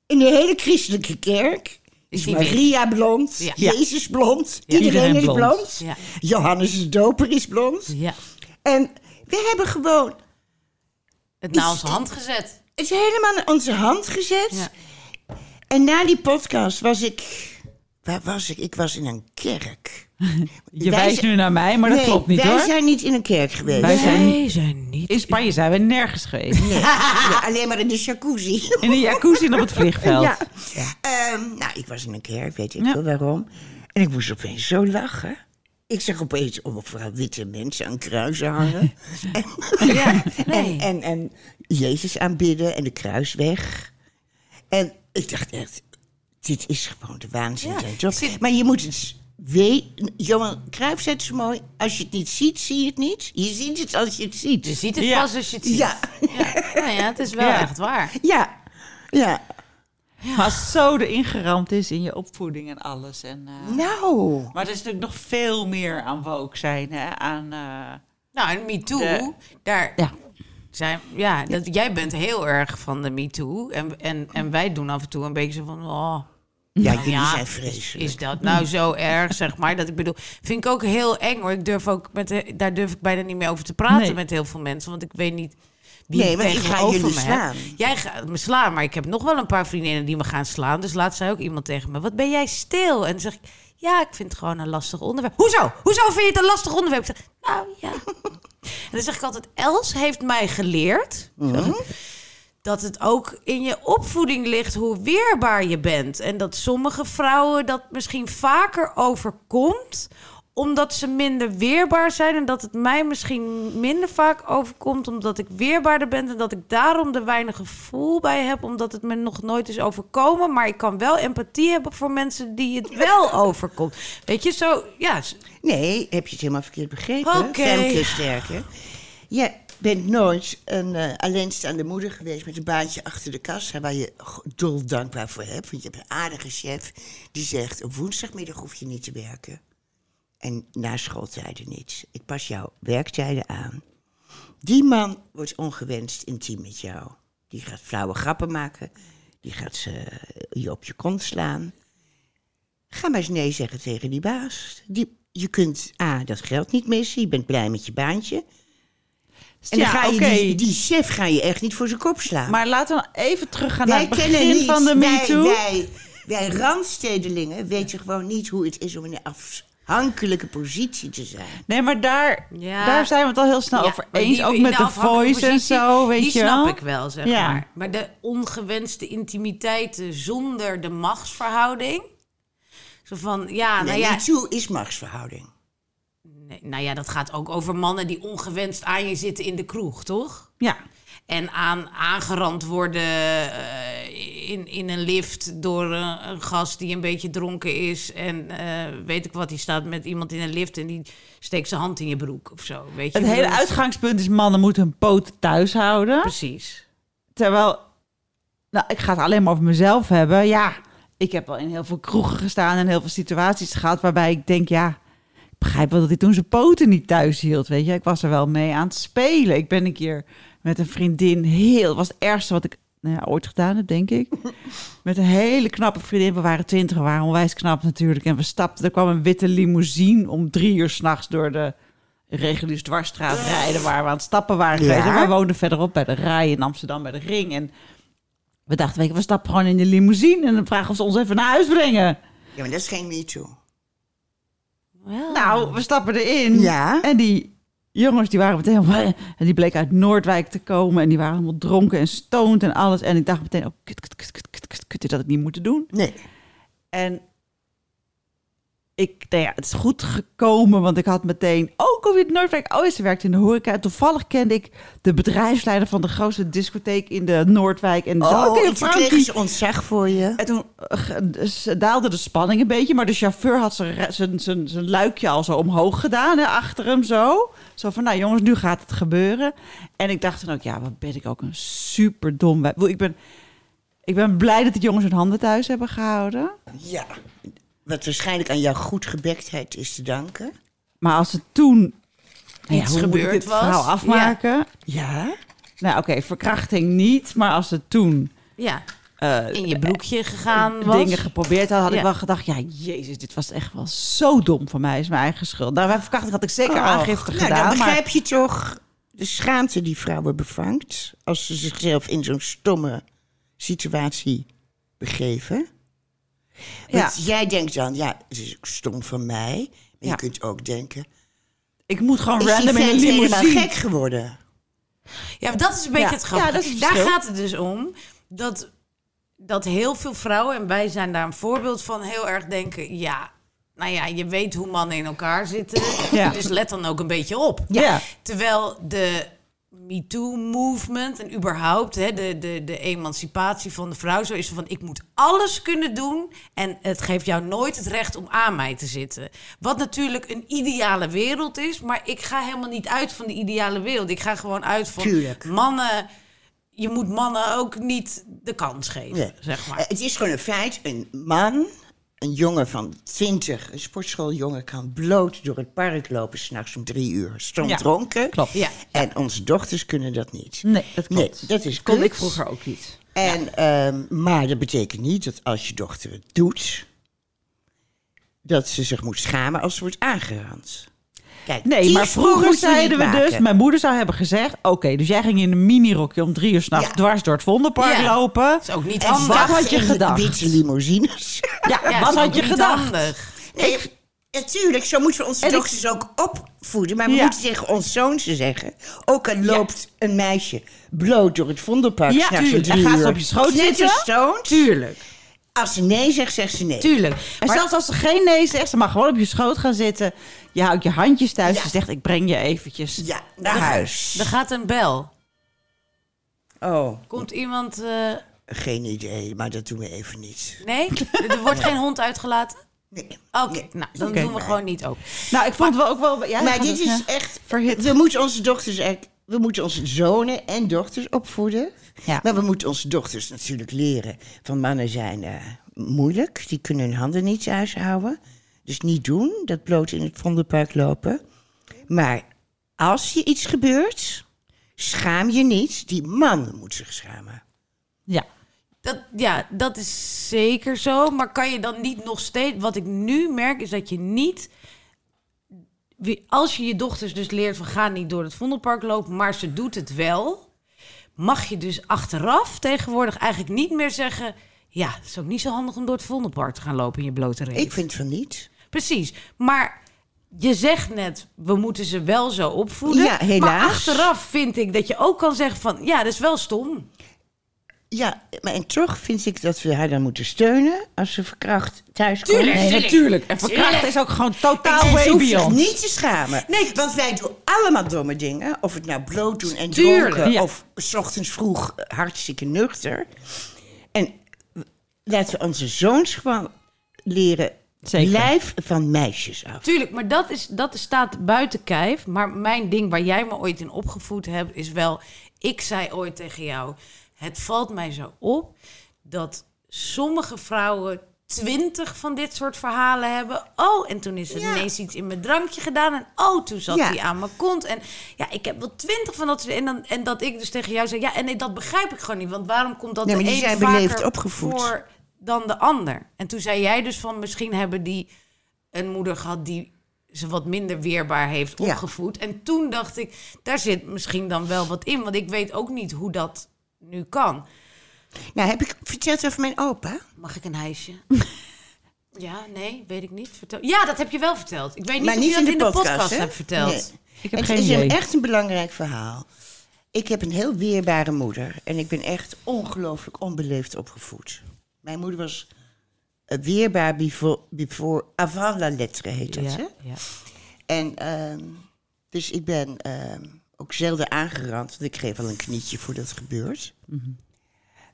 A: In de hele christelijke kerk is
C: die
A: Maria blond,
C: Ja.
A: Jezus blond, iedereen,
B: Iedereen
A: is
B: blond.
A: blond.
C: Ja.
A: Johannes de Doper is blond.
C: ja.
A: En we hebben gewoon
C: Het naar onze hand gezet.
A: het helemaal aan onze hand gezet.
C: Ja.
A: En na die podcast was ik. Waar was ik? Ik was in een kerk.
B: Je
A: Wij
B: wijst
A: zijn-
B: nu naar mij, maar dat
A: Nee,
B: klopt niet
A: wij
B: hoor.
A: zijn niet in een kerk geweest.
B: Wij zijn-
C: Wij zijn niet.
B: In Spanje zijn we nergens geweest.
A: Ja, alleen maar in de jacuzzi.
B: In de jacuzzi en op het vliegveld.
A: Ja. Ehm, nou, ik was in een kerk, weet ik
B: Ja.
A: wel waarom. En ik moest opeens zo lachen. Ik zag opeens overal witte mensen aan kruisen hangen. en, en, en, en Jezus aanbidden en de kruis weg. En ik dacht echt, dit is gewoon de waanzin. zijn, toch? Maar je moet het weten. Johan Cruijff zei het zo mooi, als je het niet ziet, zie je het niet. Je ziet het als je het ziet.
C: Je ziet het
B: Ja.
C: pas als je het ziet.
A: Ja.
C: Ja. Nou ja, het is wel
B: Ja.
C: echt waar.
A: Ja, ja.
B: Maar als het zo erin geramd is in je opvoeding en alles. En, eh,
A: Nou.
B: Maar er is natuurlijk nog veel meer aan woke zijn. Hè? Aan, eh,
C: Nou, en MeToo,
B: De-
C: daar
B: ja.
C: zijn... Ja, dat, jij bent heel erg van de MeToo. En, en, en wij doen af en toe een beetje zo van... Oh,
A: Ja,
C: Nou
A: jullie
C: ja,
A: zijn
C: is,
A: vreselijk.
C: is dat nou zo erg, zeg maar? Dat ik bedoel, vind ik ook heel eng hoor. Ik durf ook met, de- daar durf ik bijna niet meer over te praten
B: Nee.
C: met heel veel mensen, want ik weet niet wie
A: Nee,
C: ik
A: maar ik ga
C: tegenover
A: jullie
C: me heb.
A: slaan.
C: Jij gaat me slaan, maar ik heb nog wel een paar vriendinnen die me gaan slaan. Dus laat zei ook iemand tegen me: Wat ben jij stil? En dan zeg ik: Ja, ik vind het gewoon een lastig onderwerp. Hoezo? Hoezo vind je het een lastig onderwerp? Ik zeg: Nou ja. en dan zeg ik altijd: Els heeft mij geleerd dat het ook in je opvoeding ligt hoe weerbaar je bent. En dat sommige vrouwen dat misschien vaker overkomt omdat ze minder weerbaar zijn en dat het mij misschien minder vaak overkomt omdat ik weerbaarder ben en dat ik daarom er weinig gevoel bij heb omdat het me nog nooit is overkomen, maar ik kan wel empathie hebben voor mensen die het wel overkomt. Weet je, zo ja, s-
A: Nee, heb je het helemaal verkeerd begrepen?
C: Oké.
A: Femke Sterke. Jij bent nooit een eh, alleenstaande moeder geweest met een baantje achter de kassa... waar je go- dol dankbaar voor hebt. Want je hebt een aardige chef die zegt... op woensdagmiddag hoef je niet te werken. En na schooltijden niet. Ik pas jouw werktijden aan. Die man wordt ongewenst intiem met jou. Die gaat flauwe grappen maken. Die gaat ze, eh, je op je kont slaan. Ga maar eens nee zeggen tegen die baas. Die, je kunt A, dat geld niet missen. Je bent blij met je baantje. En
B: ja,
A: dan ga je
B: oké.
A: die, die chef ga je echt niet voor zijn kop slaan.
B: Maar laten we nou even teruggaan naar
A: wij
B: het
A: kennen
B: begin
A: niet,
B: van de
A: wij,
B: MeToo.
A: wij, wij randstedelingen weten gewoon niet hoe het is om in een afhankelijke positie te zijn.
B: Nee, maar daar,
C: Ja.
B: daar zijn we het al heel snel
C: Ja,
B: Nou, over
C: maar
B: eens.
C: die-
B: ook
C: in
B: met de
C: afhankelijke
B: voice en
C: positie,
B: zo, weet je
C: Die snap
B: wel.
C: ik wel, zeg
B: Ja.
C: maar. Maar de ongewenste intimiteiten zonder de machtsverhouding. Zo van, ja,
B: Ah,
C: nou ja,
A: MeToo is machtsverhouding.
C: nee, nou ja, dat gaat ook over mannen die ongewenst aan je zitten in de kroeg, toch?
B: Ja.
C: En aan, aangerand worden eh, in, in een lift door een, een gast die een beetje dronken is. En eh, weet ik wat, die staat met iemand in een lift en die steekt zijn hand in je broek of zo. Weet je?
B: Het hele
C: Dat is-
B: uitgangspunt is mannen moeten hun poot thuis houden.
C: Precies.
B: Terwijl, nou, ik ga het alleen maar over mezelf hebben. Ja, ik heb al in heel veel kroegen gestaan en heel veel situaties gehad waarbij ik denk, ja, ik begrijp wel dat hij toen zijn poten niet thuis hield. Weet je, ik was er wel mee aan het spelen. Ik ben een keer met een vriendin heel, was het ergste wat ik nou ja, ooit gedaan heb, denk ik. Met een hele knappe vriendin. We waren twintig, we waren onwijs knap natuurlijk. En we stapten, er kwam een witte limousine om drie uur s'nachts door de reguliere dus dwarsstraat rijden. Waar we aan het stappen waren geweest. En wij woonden verderop bij de Rij in Amsterdam, bij de Ring. En we dachten, weet je, we stappen gewoon in de limousine. En dan vragen of ze ons even naar huis brengen.
A: Ja, maar dat is geen MeToo.
B: Nou, we stappen erin.
A: Ja.
B: En die jongens, die waren meteen... En die bleek uit Noordwijk te komen. En die waren allemaal dronken en stoned en alles. En ik dacht meteen, oh, kut, kut, kut, kut, kut, kut, kut. Dit had ik niet moeten doen.
A: Nee.
B: En ik, nou ja, het is goed gekomen, want ik had meteen... Oh, kom je het nooit weg? Oh, ze werkt in de horeca. En toevallig kende ik de bedrijfsleider van de grootste discotheek in de Noordwijk. En
A: Oh,
B: oké,
A: iets
B: Frankie.
A: kregen ze ontzag voor je.
B: En toen eh, ge- ze daalde de spanning een beetje, maar de chauffeur had zijn re- zijn- zijn zijn luikje al zo omhoog gedaan, hè, achter hem zo. Zo van, nou jongens, nu gaat het gebeuren. En ik dacht dan ook, ja, wat ben ik ook een super dom. wij- Ik bedoel, Ik ben, ik ben blij dat de jongens hun handen thuis hebben gehouden.
A: Ja. Wat waarschijnlijk aan jouw goedgebektheid is te danken.
B: Maar als het toen iets
C: hoe
B: gebeurd
C: moeilijk
B: dit
C: het was.
B: verhaal afmaken.
A: Ja?
B: Nou oké, verkrachting niet, maar als het toen
C: Ja,
B: eh,
C: in je broekje gegaan was.
B: dingen geprobeerd had, had
C: Ja.
B: ik wel gedacht, ja, jezus, dit was echt wel zo dom van mij, is mijn eigen schuld. Nou, bij verkrachting had ik zeker aangifte
A: nou,
B: gedaan,
A: dan
B: maar
A: begrijp je toch de schaamte die vrouwen bevangt... als ze zichzelf in zo'n stomme situatie begeven.
B: Ja.
A: Want jij denkt dan, ja, het is ook stom van mij. Maar
B: Ja.
A: je kunt ook denken,
B: ik moet gewoon
A: is die
B: random in een
A: vent helemaal
B: limousine.
A: gek geworden?
C: Ja, maar dat is een beetje
B: Ja.
C: het grappige.
B: Ja, dat is het
C: daar
B: verschil.
C: gaat het dus om dat, dat heel veel vrouwen, en wij zijn daar een voorbeeld van, heel erg denken: ja, nou ja, je weet hoe mannen in elkaar zitten,
B: Ja.
C: dus let dan ook een beetje op.
B: Ja.
C: Terwijl de MeToo-movement en überhaupt hè, de, de, de emancipatie van de vrouw zo is van... ik moet alles kunnen doen en het geeft jou nooit het recht om aan mij te zitten. Wat natuurlijk een ideale wereld is, maar ik ga helemaal niet uit van de ideale wereld. Ik ga gewoon uit van
A: Tuurlijk.
C: mannen... Je moet mannen ook niet de kans geven,
A: Nee.
C: zeg
A: Eh,
C: maar.
A: Het is gewoon een feit. Een man, een jongen van 20, een sportschooljongen, kan bloot door het park lopen s'nachts om drie uur. Stom
B: Ja,
A: dronken.
B: klopt.
C: Ja.
A: En onze dochters kunnen dat niet.
B: Nee, dat
A: Nee,
B: klopt.
A: dat is
B: kon
A: kut.
B: ik vroeger ook niet.
A: En, ehm, maar dat betekent niet dat als je dochter het doet, dat ze zich moet schamen als ze wordt aangerand. Kijk,
B: Nee,
A: die
B: maar
A: sprong
B: vroeger
A: moet je niet
B: zeiden we dus,
A: maken.
B: mijn moeder zou hebben gezegd, oké, dus jij ging in een minirokje om drie uur s'nachts
A: Ja.
B: dwars door het Vondelpark
C: Ja.
B: lopen.
C: Dat is ook niet
A: En
C: handig.
B: wat
A: wachten
B: had je
A: in de
B: gedacht?
A: Witte limousines.
B: Ja,
C: Ja, dat
B: Eh, wat
C: is ook
B: had je
C: niet
B: gedacht?
C: handig.
A: Nee, natuurlijk, zo moeten we onze
B: En ik-
A: dochters ook opvoeden. Maar we
B: Ja.
A: moeten tegen ons zoons zeggen... ook al loopt een meisje bloot door het Vondelpark...
B: Ja,
A: s'nachts om
B: tuurlijk.
A: drie
B: En gaat ze
A: uur.
B: op je schoot
A: Net
B: zitten?
A: als stoont.
B: Tuurlijk.
A: Als ze nee zegt, zegt ze nee.
B: Tuurlijk. En zelfs als ze geen nee zegt, ze mag gewoon op je schoot gaan zitten. Je houdt je handjes thuis.
A: Ja.
B: Ze zegt, ik breng je eventjes.
A: Ja, naar huis.
C: Er gaat een bel.
A: Oh,
C: Komt iemand... eh,
A: geen idee, maar dat doen we even niet.
C: nee? Er wordt geen hond uitgelaten?
A: Nee.
C: Oké,
A: Nee.
C: nou, dan
B: Oké.
C: doen we gewoon niet open.
B: Nou, ik vond het wel ook wel... Ja,
A: Maar
B: dat
A: dit
B: ja.
A: is echt...
B: verhit.
A: We moeten onze dochters echt... We moeten onze zonen en dochters opvoeden.
B: Ja.
A: Maar we moeten onze dochters natuurlijk leren. Van mannen zijn eh, moeilijk. Die kunnen hun handen niet thuis houden. Dus niet doen. Dat bloot in het Vondelpark lopen. Maar als je iets gebeurt, schaam je niet. Die man moet zich schamen.
B: Ja.
C: Dat, ja, dat is zeker zo. Maar kan je dan niet nog steeds... Wat ik nu merk is dat je niet... wie- Als je je dochters dus leert van ga niet door het Vondelpark lopen... maar ze doet het wel... mag je dus achteraf tegenwoordig eigenlijk niet meer zeggen... ja, het is ook niet zo handig om door het Vondelpark te gaan lopen in je blote reet.
A: Ik vind van niet.
C: Precies. Maar je zegt net, we moeten ze wel zo opvoeden.
A: Ja,
C: Maar
A: helaas.
C: achteraf vind ik dat je ook kan zeggen van... ja, dat is wel stom.
A: Ja, maar en toch vind ik dat we haar dan moeten steunen als ze verkracht thuis komt.
B: Nee, natuurlijk. En verkracht is ook gewoon totaal
A: En ze
B: way
A: hoeft zich
B: beyond.
A: niet te schamen. Nee, want wij doen allemaal domme dingen. Of het nou bloot doen en
B: Tuurlijk,
A: dronken.
B: ja.
A: Of s ochtends vroeg eh, hartstikke nuchter. En laten we onze zoons gewoon leren...
B: Zeker.
A: Lijf van meisjes af.
C: Tuurlijk, maar dat, is, dat staat buiten kijf. Maar mijn ding waar jij me ooit in opgevoed hebt... is wel, ik zei ooit tegen jou... het valt mij zo op dat sommige vrouwen... twintig van dit soort verhalen hebben. Oh, en toen is er ineens iets in mijn drankje gedaan. En oh, toen zat
A: Ja.
C: hij aan mijn kont. En ja, ik heb wel twintig van dat soort... En, dan, en dat ik dus tegen jou zei... ja, en nee, dat begrijp ik gewoon niet. Want waarom komt dat
A: Nee, maar
C: de
A: die
C: ene
A: zijn beleefd
C: vaker
A: opgevoed.
C: voor dan de ander? En toen zei jij dus van... misschien hebben die een moeder gehad die ze wat minder weerbaar heeft
A: Ja.
C: opgevoed. En toen dacht ik, daar zit misschien dan wel wat in. Want ik weet ook niet hoe dat nu kan.
A: Nou, heb ik verteld over mijn opa?
C: Mag ik een hijsje? ja, nee, weet ik niet. Vertel. Ja, dat heb je wel verteld. Ik weet niet
A: maar
C: of
A: niet
C: je dat in de podcast,
A: hè?
C: hebt verteld.
A: Nee.
B: Ik heb
A: het
B: geen
A: is een-
B: idee.
A: echt een belangrijk verhaal. Ik heb een heel weerbare moeder. En ik ben echt ongelooflijk onbeleefd opgevoed. Mijn moeder was eh, weerbaar before, before, avant la lettre heet dat,
C: Ja,
A: hè?
C: ja.
A: En ehm, Dus ik ben ehm, ook zelden aangerand, want ik geef wel een knietje voor dat gebeurt.
C: Mhm.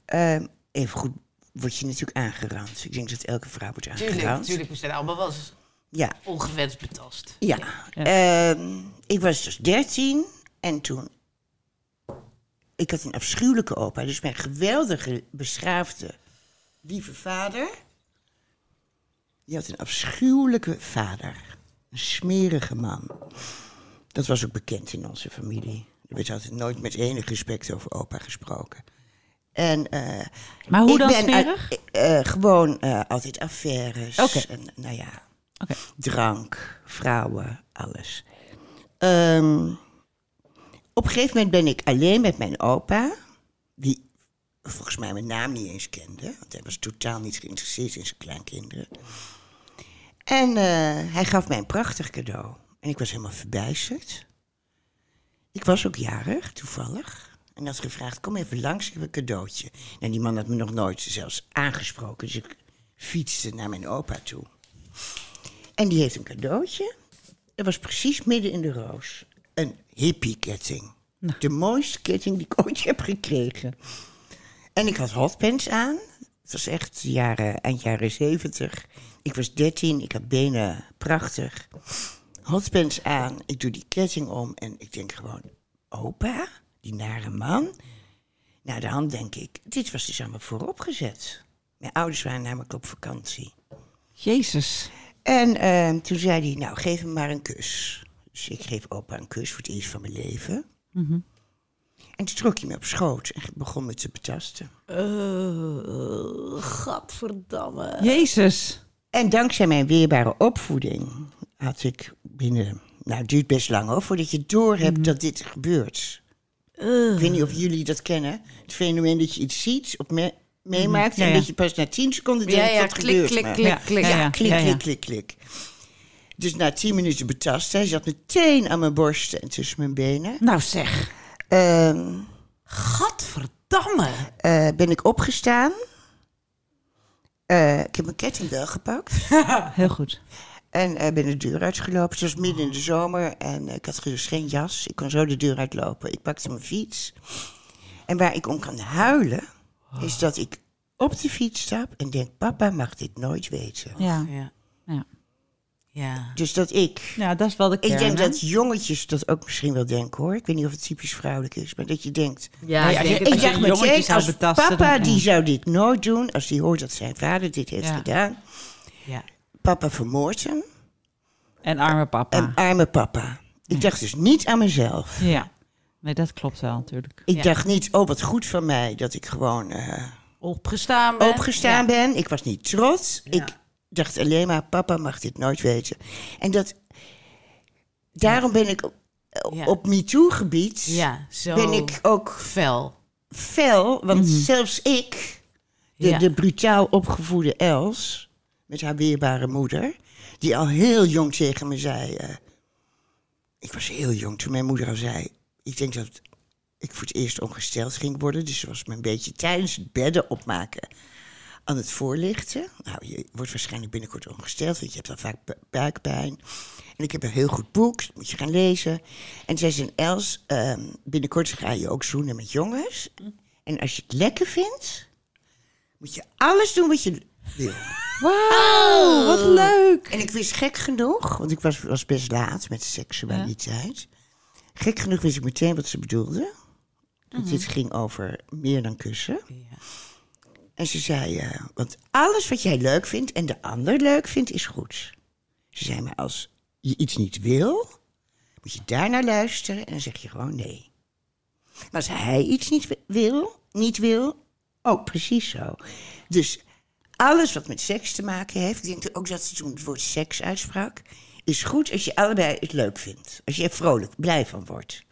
A: Ehm, even goed word je natuurlijk aangerand. Ik denk dat elke vrouw wordt aangerand.
E: Tuurlijk, tuurlijk, we zijn allemaal wel eens
A: Ja,
E: ongewenst betast.
A: ja. Ehm, ik was dus 13 en toen. Ik had een afschuwelijke opa, dus mijn geweldige, beschaafde, lieve vader. Die had een afschuwelijke vader. Een smerige man. Dat was ook bekend in onze familie. Er werd altijd nooit met enig respect over opa gesproken. En, eh,
B: Maar hoe
A: ik
B: dan
A: ben uit-
B: smerig?
A: eh, eh, gewoon eh, altijd affaires.
B: Oké.
A: En, nou ja,
B: Oké.
A: drank, vrouwen, alles. Ehm, op een gegeven moment ben ik alleen met mijn opa, die volgens mij mijn naam niet eens kende, want hij was totaal niet geïnteresseerd in zijn kleinkinderen. En eh, hij gaf mij een prachtig cadeau. En ik was helemaal verbijsterd. Ik was ook jarig, toevallig. En had gevraagd, kom even langs, ik heb een cadeautje. Nou, die man had me nog nooit zelfs aangesproken. Dus ik fietste naar mijn opa toe. En die heeft een cadeautje. Dat was precies midden in de roos. Een hippie-ketting. De mooiste ketting die ik ooit heb gekregen. En ik had hotpants aan. Het was echt jaren, eind jaren zeventig. Ik was dertien, ik had benen prachtig. Hotpants aan, ik doe die ketting om en ik denk gewoon... Opa, die nare man. Nou, dan denk ik, dit was dus allemaal vooropgezet. Mijn ouders waren namelijk op vakantie.
B: Jezus.
A: En ehm, toen zei hij, nou, geef hem maar een kus. Dus ik geef opa een kus voor het eerst van mijn leven. En toen trok hij me op schoot en begon me te betasten.
B: Jezus.
A: En dankzij mijn weerbare opvoeding had ik binnen... Nou, het duurt best lang hoor, voordat je doorhebt
E: Mhm.
A: dat dit gebeurt. Ik weet niet of jullie dat kennen. Het fenomeen dat je iets ziet, of me- meemaakt...
B: Ja,
A: en
B: ja.
A: dat je pas na tien seconden denkt,
E: Mhm. Ja, ja,
A: dat
E: klik,
A: gebeurt
E: klik,
A: me.
E: klik,
B: Ja,
E: klik.
B: ja, ja.
A: Ja, klik,
B: ja, ja.
A: klik, klik, klik. Dus na tien minuten betast, hij zat meteen aan mijn borsten en tussen mijn benen.
B: Nou zeg.
A: Ehm,
E: Gadverdamme.
A: eh, ben ik opgestaan. Eh, ik heb mijn kettingbel gepakt
B: Heel goed.
A: en eh, ben de deur uitgelopen. Het was midden in de zomer en eh, ik had dus geen jas. Ik kon zo de deur uitlopen. Ik pakte mijn fiets. En waar ik om kan huilen, is dat ik op de fiets stap en denk... papa mag dit nooit weten.
B: Ja.
E: Ja.
B: Ja.
E: Ja.
A: Dus dat ik
B: ja, dat is wel de kern.
A: Ik denk
B: hè?
A: dat jongetjes dat ook misschien wel denken hoor. Ik weet niet of het typisch vrouwelijk is, maar dat je denkt.
E: Ja,
B: ik denk
E: het
B: dat
A: Ik
E: als je-
B: je
A: dacht
B: een jongetje
A: meteen,
B: zou
A: als
B: betasten,
A: papa
B: dan-
A: die
B: ja.
A: zou dit nooit doen, als die hoort dat zijn vader dit heeft
B: Ja.
A: gedaan.
E: ja.
A: Papa vermoordt hem
B: En arme papa.
A: en arme papa. Ik dacht dus niet aan mezelf.
B: Ja. Nee, dat klopt wel natuurlijk.
A: Ik dacht niet, oh wat goed van mij dat ik gewoon eh,
E: Opgestaan ben.
A: opgestaan ben. Ik was niet trots. Ik dacht alleen maar, papa mag dit nooit weten. En dat, daarom ben ik op,
E: Ja.
A: op MeToo-gebied
E: Ja, zo
A: ben ik ook
E: fel. Mhm.
A: fel, want zelfs ik, de,
E: Ja.
A: de brutaal opgevoede Els, met haar weerbare moeder, die al heel jong tegen me zei. eh, ik was heel jong toen mijn moeder al zei. Ik denk dat ik voor het eerst ongesteld ging worden, dus ze was me een beetje tijdens het bedden opmaken aan het voorlichten. Nou, je wordt waarschijnlijk binnenkort ongesteld, want je hebt al vaak bu- buikpijn. En ik heb een heel goed boek, dat moet je gaan lezen. En zij zei, Els, ehm, binnenkort ga je ook zoenen met jongens. En als je het lekker vindt, moet je alles doen wat je wil.
B: Wauw, Oh, wat leuk.
A: En ik wist gek genoeg, want ik was, was best laat met seksualiteit. Gek genoeg wist ik meteen wat ze bedoelde. Want dit ging over meer dan kussen. En ze zei, eh, want alles wat jij leuk vindt en de ander leuk vindt, is goed. Ze zei, maar als je iets niet wil, moet je daarnaar luisteren en dan zeg je gewoon nee. Maar als hij iets niet wi- wil, niet wil, ook precies zo. Dus alles wat met seks te maken heeft, ik denk ook dat ze toen het woord seks uitsprak, is goed als je allebei het leuk vindt. Als je er vrolijk, blij van wordt.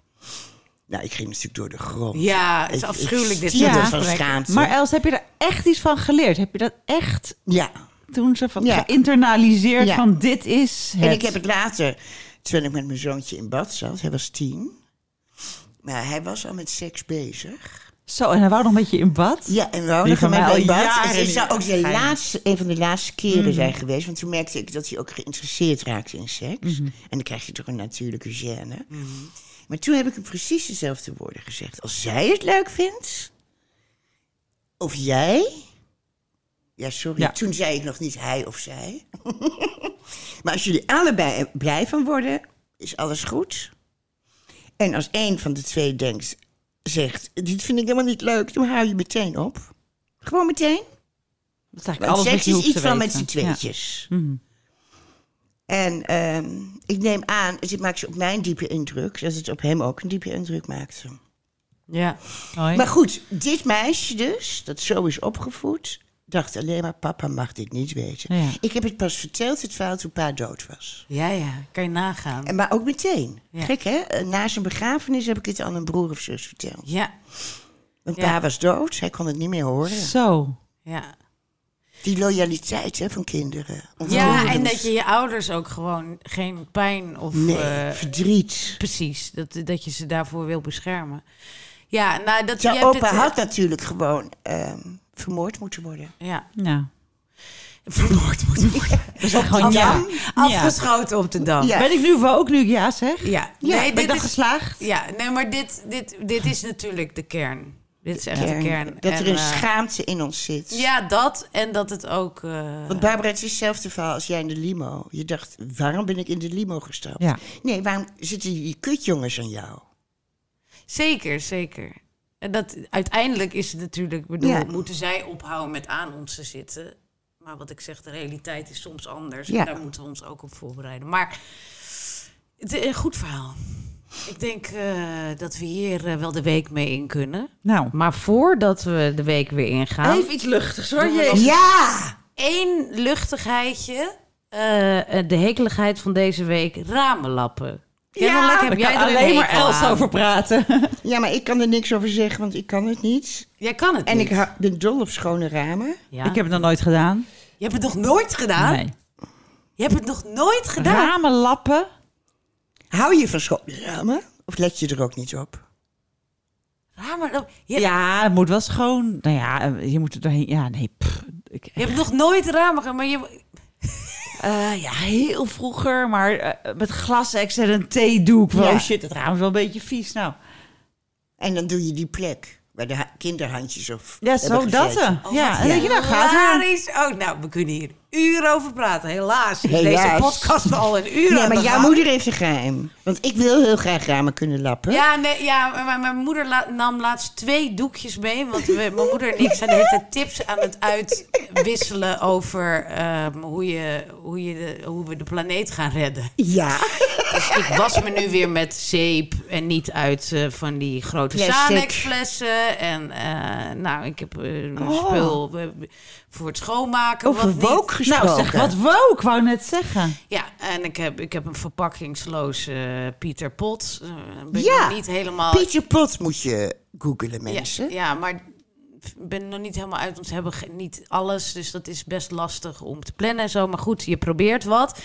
A: Nou, ik ging natuurlijk door de grond.
E: Ja, het is
A: Ik- ik
E: afschuwelijk, dit
A: stierf
B: soort
A: van
E: gesprekken.
A: schaamte.
B: Maar Els, heb je daar echt iets van geleerd? Heb je dat echt
A: ja,
B: toen ze van
A: Ja.
B: geïnternaliseerd
A: Ja.
B: van dit is het?
A: En ik heb het later, terwijl ik met mijn zoontje in bad zat, hij was tien. Maar hij was al met seks bezig.
B: Zo, en hij wou nog met je in bad?
A: Ja, en we
B: Die
A: nog
B: van mij
A: met
B: al
A: mijn bad.
B: jaren
A: Het
B: niet Mm.
A: zou ook de
B: meer gaan.
A: laatste, een van de laatste keren zijn geweest. Want toen merkte ik dat hij ook geïnteresseerd raakte in seks.
B: Mhm.
A: En dan krijg je toch een natuurlijke gêne. Maar toen heb ik hem precies dezelfde woorden gezegd. Als zij het leuk vindt, of jij... Ja, sorry,
B: Ja.
A: toen zei ik nog niet hij of zij. maar als jullie allebei er blij van worden, is alles goed. En als één van de twee denkt, zegt, dit vind ik helemaal niet leuk, dan hou je meteen op. Gewoon meteen.
B: Dat is eigenlijk
A: Want
B: alles wat
A: seks
B: je
A: is
B: hoeft
A: iets
B: te
A: van met
B: weten. Mhm.
A: z'n tweetjes. En ehm, ik neem aan, dus dit maakte op mijn diepe indruk, dat het op hem ook een diepe indruk maakte.
C: Ja.
B: Ja. Hoi.
A: Maar goed, dit meisje dus, dat zo is opgevoed, dacht alleen maar, papa mag dit niet weten.
B: Ja.
A: Ik heb het pas verteld, het verhaal, toen pa dood was.
C: Ja, ja. Kan je nagaan.
A: En, maar ook meteen.
C: Ja.
A: Gek hè? Eh, Na zijn begrafenis heb ik het aan een broer of zus verteld.
C: Ja.
A: Want
C: Ja.
A: pa was dood, hij kon het niet meer horen.
B: Zo.
C: Ja.
A: Die loyaliteit hè, van kinderen.
C: Ja, en dat je je ouders ook gewoon geen pijn of...
A: Nee,
C: eh,
A: verdriet.
C: precies. Dat, dat je ze daarvoor wil beschermen. Ja, nou, dat... je
A: Zijn
C: hebt
A: opa
C: het, eh,
A: had natuurlijk gewoon ehm, vermoord moeten worden.
C: eh, Ja.
B: Ja.
C: Vermoord moeten worden.
B: Gewoon ja.
C: Afgeschoten op de dam.
A: Ja.
B: Ben ik nu ook nu ik ja zeg?
C: Ja,
B: Ja,
C: nee,
B: ben
C: dit
B: ik dan
C: is-
B: geslaagd?
C: Ja, nee, maar dit, dit, dit is natuurlijk de kern. Dit is echt
A: Kern.
C: de kern.
A: Dat
C: En,
A: er een
C: eh,
A: schaamte in ons zit.
C: Ja, dat en dat het ook... eh,
A: Want Barbara, het is hetzelfde verhaal als jij in de limo. Je dacht, waarom ben ik in de limo gestapt?
B: Ja.
A: Nee, waarom zitten die kutjongens aan jou?
C: zeker, zeker. En dat, uiteindelijk is het natuurlijk... ik bedoel,
A: Ja.
C: moeten zij ophouden met aan ons te zitten. Maar wat ik zeg, de realiteit is soms anders.
A: Ja.
C: En daar moeten we ons ook op voorbereiden. Maar het is een goed verhaal. Ik denk eh, dat we hier eh, wel de week mee in kunnen.
B: Nou.
F: Maar voordat we de week weer ingaan...
B: iets luchtigs hoor.
A: Ja!
C: Eén luchtigheidje.
F: eh, eh, de hekeligheid van deze week, ramenlappen. Kennelijk
B: Ja,
F: heb
B: daar
F: jij
B: kan
F: er een
B: alleen maar
F: hekel
B: Els
F: aan.
B: over praten.
A: Ja, maar ik kan er niks over zeggen, want ik kan het niet.
C: Jij kan het
A: En
C: niet.
A: ik hou- ben dol op schone ramen.
F: Ja.
B: Ik heb het nog nooit gedaan.
C: Je hebt het nog nooit gedaan?
B: Nee.
C: Je hebt het nog nooit gedaan?
B: Ramen lappen.
A: Hou je van schone ramen? Of let je er ook niet op?
C: Raar, maar dat- je,
B: Ja, het moet wel schoon. Nou ja, eh, je moet er doorheen. Ja, nee. pff, ik,
C: je hebt nog nooit ramen gedaan, maar je...
B: Eh, ja, heel vroeger, maar eh, met glaseks en een theedoek. Wow,
A: Ja.
B: shit, het raam is wel een beetje vies. Nou,
A: En dan doe je die plek waar de ha- kinderhandjes op
B: ja, zo
A: hebben
B: dat.
A: gezeten.
B: eh. ja, en dan denk je, nou gaat het.
C: Hilarisch. Oh, nou, we kunnen hier uren over praten. Helaas is
A: Helaas.
C: deze podcast al een uur
A: Nee,
C: aan
A: maar
C: de
A: jouw
C: gang.
A: moeder heeft een geheim. Want ik wil heel graag ramen kunnen lappen.
C: Ja, nee, ja maar mijn, moeder la- nam laatst twee doekjes mee. Want we, mijn moeder en ik zijn de hele tijd tips aan het uitwisselen over ehm, hoe, je, hoe, je de- hoe we de planeet gaan redden.
A: Ja.
C: Ik was me nu weer met zeep en niet uit eh, van die grote
A: Plastic.
C: Sanex-flessen. En eh, nou, ik heb eh, een spul eh, voor het schoonmaken.
A: Oh. Over
C: wat niet.
A: woke gesproken.
B: Nou, zeg wat wow, ik wou net zeggen.
C: Ja, en ik heb, ik heb een verpakkingsloze Pieter Pot. Eh, ben ik
A: Ja,
C: nog niet helemaal...
A: Pieter Pot moet je googelen,
C: ja,
A: mensen.
C: ja, maar ik ben nog niet helemaal uit, want ze hebben ge- niet alles. Dus dat is best lastig om te plannen en zo. Maar goed, je probeert wat.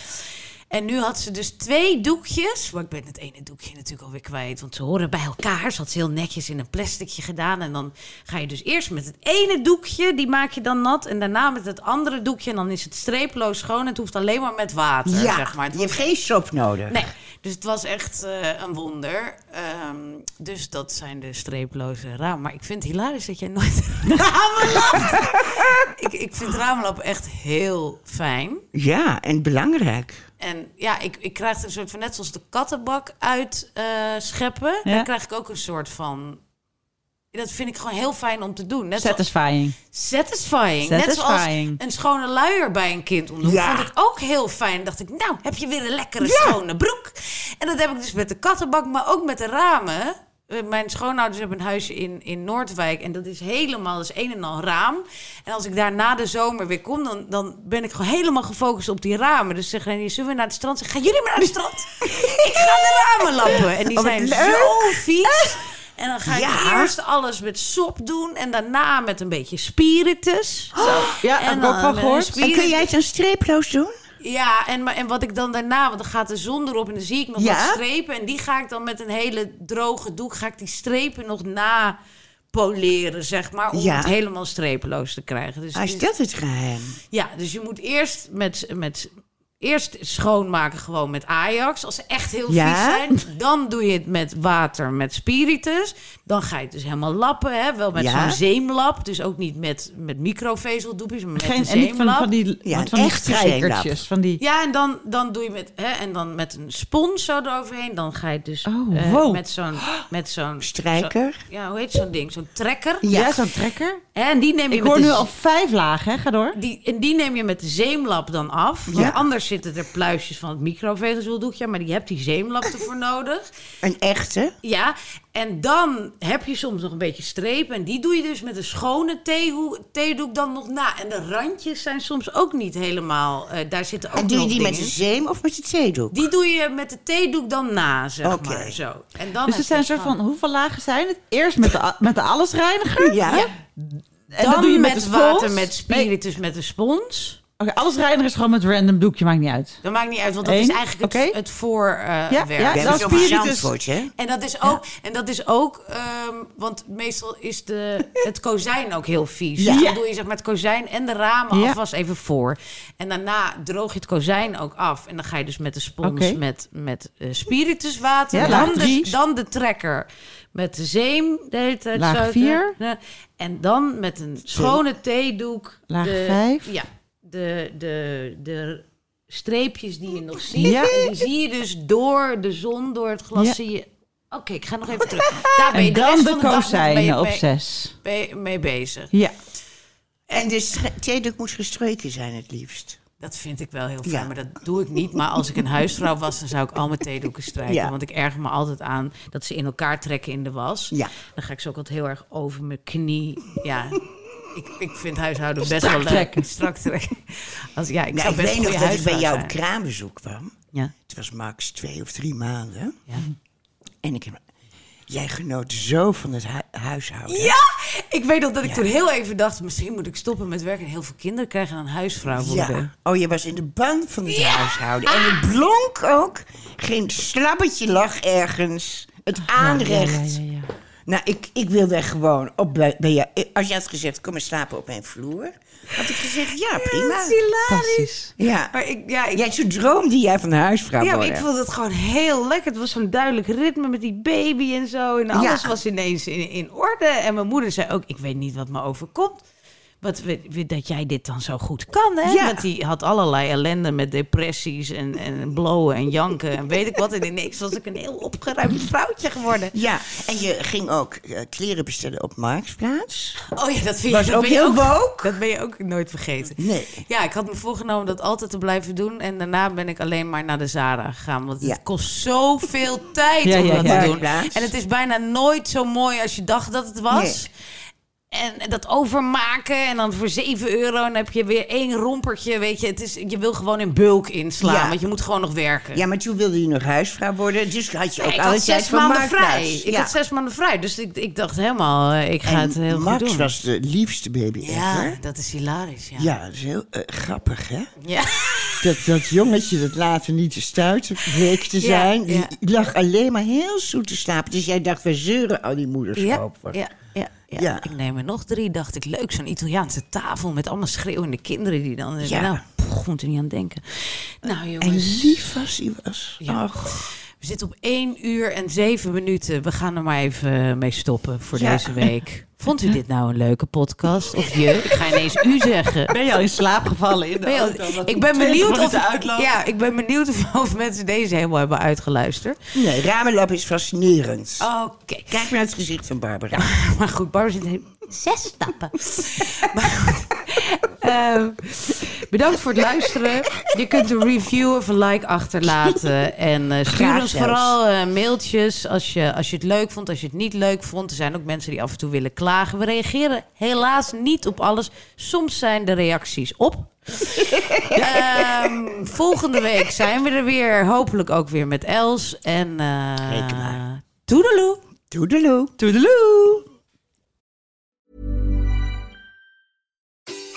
C: En nu had ze dus twee doekjes. Maar ik ben het ene doekje natuurlijk alweer kwijt. Want ze horen bij elkaar. Ze had ze heel netjes in een plasticje gedaan. En dan ga je dus eerst met het ene doekje. Die maak je dan nat. En daarna met het andere doekje. En dan is het streeploos schoon. Het hoeft alleen maar met water.
A: Ja,
C: zeg maar. Het
A: je hebt geen sop nodig.
C: Nee, dus het was echt eh, een wonder. Ehm, dus dat zijn de streeploze ramen. Maar ik vind het hilarisch dat jij nooit ramen lapt. ik, ik vind ramenlappen echt heel fijn.
A: Ja, en belangrijk.
C: En ja, ik, ik krijg er een soort van, net zoals de kattenbak uit eh, scheppen.
B: Ja.
C: Daar krijg ik ook een soort van... Dat vind ik gewoon heel fijn om te doen. Net zoals-
B: Satisfying.
C: Satisfying. Net zoals
B: Satisfying.
C: een schone luier bij een kind onderdoen.
A: Ja.
C: Vond ik ook heel fijn. Dacht ik, nou, heb je weer een lekkere schone broek. En dat heb ik dus met de kattenbak, maar ook met de ramen. Eh, Mijn schoonouders hebben een huisje in, in Noordwijk. En dat is helemaal, dat is een en al raam. En als ik daar na de zomer weer kom, dan, dan ben ik gewoon helemaal gefocust op die ramen. Dus zeggen die zullen we naar het strand? Zeg, gaan jullie maar naar het strand? ik ga de ramen lappen. En die
A: Oh, wat
C: zijn
A: leuk.
C: zo vies. En dan ga ik
A: Eh? Ja.
C: eerst alles met sop doen en daarna met een beetje spiritus.
B: Ja,
C: en
B: heb ik ook
C: dan,
B: van
C: eh,
B: gehoord.
C: spier-
A: En kun jij het dan streeploos doen?
C: Ja, en, maar- en wat ik dan daarna, want dan gaat de zon erop en dan zie ik nog
A: Ja?
C: wat strepen. En die ga ik dan met een hele droge doek, ga ik die strepen nog na poleren, zeg maar, om
A: Ja.
C: het helemaal strepeloos te krijgen. Dus
A: Hij
C: het is-
A: stelt het geheim.
C: ja, dus je moet eerst met, met eerst schoonmaken gewoon met Ajax. Als ze echt heel
A: Ja.
C: vies zijn. Dan doe je het met water, met spiritus. Dan ga je het dus helemaal lappen. Hè? Wel met
A: Ja.
C: zo'n zeemlap. Dus ook niet met, met microvezeldopjes, maar met
B: Geen,
C: een
B: en niet
C: zeemlap.
B: van, van die,
A: Ja,
B: want van die
A: echt zeemlap.
B: strijkertjes. Van die,
C: Ja, en dan, dan doe je met, hè, en dan met een spons zo eroverheen. Dan ga je het dus
B: Oh,
C: eh,
B: wow.
C: met zo'n... Met zo'n
A: Strijker.
C: zo- ja, hoe heet zo'n ding? Zo'n trekker.
B: ja. zo'n trekker.
C: En die neem je
B: Ik
C: met
B: hoor
C: de
B: nu
C: z-
B: al vijf lagen, hè? Ga door. Dus
C: Die, en die neem je met de zeemlap dan af. Want
A: Ja.
C: anders zitten er pluisjes van het microvezeldoekje. Maar die hebt die zeemlap ervoor nodig.
A: Een echte.
C: Ja, en dan heb je soms nog een beetje strepen. En die doe je dus met een schone theehoe- theedoek dan nog na. En de randjes zijn soms ook niet helemaal... eh, daar zitten ook
A: En doe je
C: nog
A: die met de
C: dingen in.
A: zeem of met het theedoek?
C: Die doe je met de theedoek dan na, zeg
A: Oké.
C: maar. Zo. En dan
B: Dus
C: heb
B: het
C: je
B: zijn een soort
C: gewoon-
B: van, hoeveel lagen zijn het? Eerst met de, a- met de allesreiniger.
A: Ja.
B: En
C: Dan
B: dat doe je met,
C: met
B: de
C: water, met
B: spons. Nee,
C: spiritus, met een spons.
B: Oké, allesreiniger is gewoon met random doekje, maakt niet uit.
C: Dat maakt niet uit, want dat
B: Eén,
C: is eigenlijk het,
B: oké.
C: het voorwerk.
B: Ja, ja,
A: We
B: dat
A: hebben
B: is
A: zo'n
B: spiritus.
A: Zandvoort, hè?
C: En dat is ook, en dat is ook ehm, want meestal is de, het kozijn ook heel vies.
B: Ja.
C: Dus dan doe je zeg maar het kozijn en de ramen
B: Ja.
C: alvast even voor. En daarna droog je het kozijn ook af. En dan ga je dus met de spons
B: Oké.
C: met, met eh, spirituswater.
B: Ja, laag
C: dan, de,
B: drie.
C: dan de trekker met de zeem de hele tijd.
B: Laag
C: zo.
B: vier.
C: En dan met een schone theedoek.
B: Laag
C: de,
B: vijf.
C: Ja, de, de, de streepjes die je nog ziet.
B: Ja.
C: En die zie je dus door de zon, door het glas
B: Ja.
C: zie je... Oké, ik ga nog even terug. Daar ben je
B: En dan
C: rest
B: de
C: van dag nog ben je
B: kozijnen op
C: mee-
B: zes.
C: Mee, mee bezig.
B: Ja.
A: En de stre- theedoek moet gestreken zijn het liefst.
C: Dat vind ik wel heel fijn,
A: Ja.
C: maar dat doe ik niet. Maar als ik een huisvrouw was, dan zou ik al mijn theedoeken strijken.
A: Ja.
C: Want ik erger me altijd aan dat ze in elkaar trekken in de was.
A: Ja.
C: Dan ga ik ze ook altijd heel erg over mijn knie. Ja, ik, ik vind huishouden best wel leuk.
B: trekken.
C: Strak trekken. Als, ja, ik
A: Nou,
C: zou
A: ik
C: best
A: weet
C: een
A: nog
C: goede
A: dat ik bij
C: huisvrouw
A: jou op
C: zijn.
A: kraambezoek kwam.
C: Ja.
A: Het was max twee of drie maanden.
C: Ja.
A: En ik heb... Jij genoot zo van het hu- huishouden.
C: Ja, ik weet nog dat ik toen heel even dacht... misschien moet ik stoppen met werken en heel veel kinderen krijgen... en een huisvrouw worden.
A: Ja. Oh, je was in de ban van het huishouden. En het blonk ook. Geen slabbetje lag ergens. Het aanrecht. Nou, ik, ik wilde er gewoon op bij, bij jou. ik- Als je had gezegd, kom maar slapen op mijn vloer. Had ik gezegd, ja, prima.
B: Fantastisch.
A: Ja,
C: Maar ik, ja, ik,
A: Jij, zo droomde jij van huisvrouw
C: ja, maar
A: worden.
C: ik vond het gewoon heel lekker. Het was zo'n duidelijk ritme met die baby en zo. En alles
A: Ja.
C: was ineens in, in orde. En mijn moeder zei ook, ik weet niet wat me overkomt. Wat, we- we- dat jij dit dan zo goed kan, hè?
A: Ja.
C: Want die had allerlei ellende met depressies en, en blowen en janken en weet ik wat. En ineens was ik een heel opgeruimd vrouwtje geworden.
A: Ja, en je ging ook eh, kleren bestellen op Marktplaats.
C: Oh ja, dat vind
A: Was
C: je, dat
A: ook
C: ben je
A: heel
C: ook
A: woke.
C: Dat ben je ook nooit vergeten.
A: Nee.
C: Ja, ik had me voorgenomen dat altijd te blijven doen. En daarna ben ik alleen maar naar de Zara gegaan. Want
A: Ja.
C: het kost zoveel tijd
B: Ja,
C: om
B: ja,
C: dat
B: ja.
C: te doen.
A: Marktplaats.
C: En het is bijna nooit zo mooi als je dacht dat het was. En dat overmaken en dan voor 7 euro en dan heb je weer één rompertje. Weet je, het is, je wil gewoon in bulk inslaan,
A: Ja.
C: want je moet gewoon nog werken.
A: Ja, maar toen wilde je nog huisvrouw worden. Dus had je ook
C: ik
A: alle
C: had
A: tijd
C: zes
A: van
C: maanden
A: Marktplaats.
C: vrij. Ik
A: Ja.
C: had zes maanden vrij, dus ik, ik dacht helemaal, eh, ik ga
A: En
C: het heel
A: Max
C: goed doen.
A: was de liefste baby
C: Ja,
A: ever.
C: dat is hilarisch, ja.
A: Ja, dat is heel eh, grappig, hè?
C: Ja.
A: Dat, dat jongetje dat later niet te stuiten bleek te
C: Ja,
A: zijn.
C: ja.
A: Die lag alleen maar heel zoet te slapen. Dus jij dacht, we zeuren al die moeders
C: Ja,
A: over.
C: ja, ja, ja.
A: Ja.
C: Ik neem er nog drie, dacht ik. Leuk, zo'n Italiaanse tafel met allemaal schreeuwende kinderen die dan...
A: Ja.
C: Nou, poeh, moet er niet aan denken. Nou
A: En
C: jongens,
A: lief was hij was.
C: Ja.
A: Ach,
C: we zitten op één uur en zeven minuten. We gaan er maar even eh, mee stoppen voor
A: Ja.
C: deze week. Vond u dit nou een leuke podcast? Of je? Ik ga ineens u zeggen.
B: Ben je al in slaap gevallen in de
C: Ben je al-
B: auto? omdat
C: ik
B: het
C: ben
B: 20
C: benieuwd of,
B: minuten uitloopt?
C: ja, ik ben benieuwd of, of mensen deze helemaal hebben uitgeluisterd.
A: nee, Ramelab is fascinerend.
C: Oké.
A: Kijk maar naar het gezicht van Barbara.
C: Maar goed, Barbara zit in zes stappen. maar goed. Ehm, bedankt voor het luisteren. Je kunt een review of een like achterlaten. En eh, stuur
A: Graag
C: ons
A: zelfs.
C: vooral eh, mailtjes als je, als je het leuk vond, als je het niet leuk vond. Er zijn ook mensen die af en toe willen klagen. We reageren helaas niet op alles. Soms zijn de reacties op. Ehm, volgende week zijn we er weer. Hopelijk ook weer met Els. En eh
A: Reken maar.
C: toedeloe.
A: Toedeloe.
B: Toedeloe.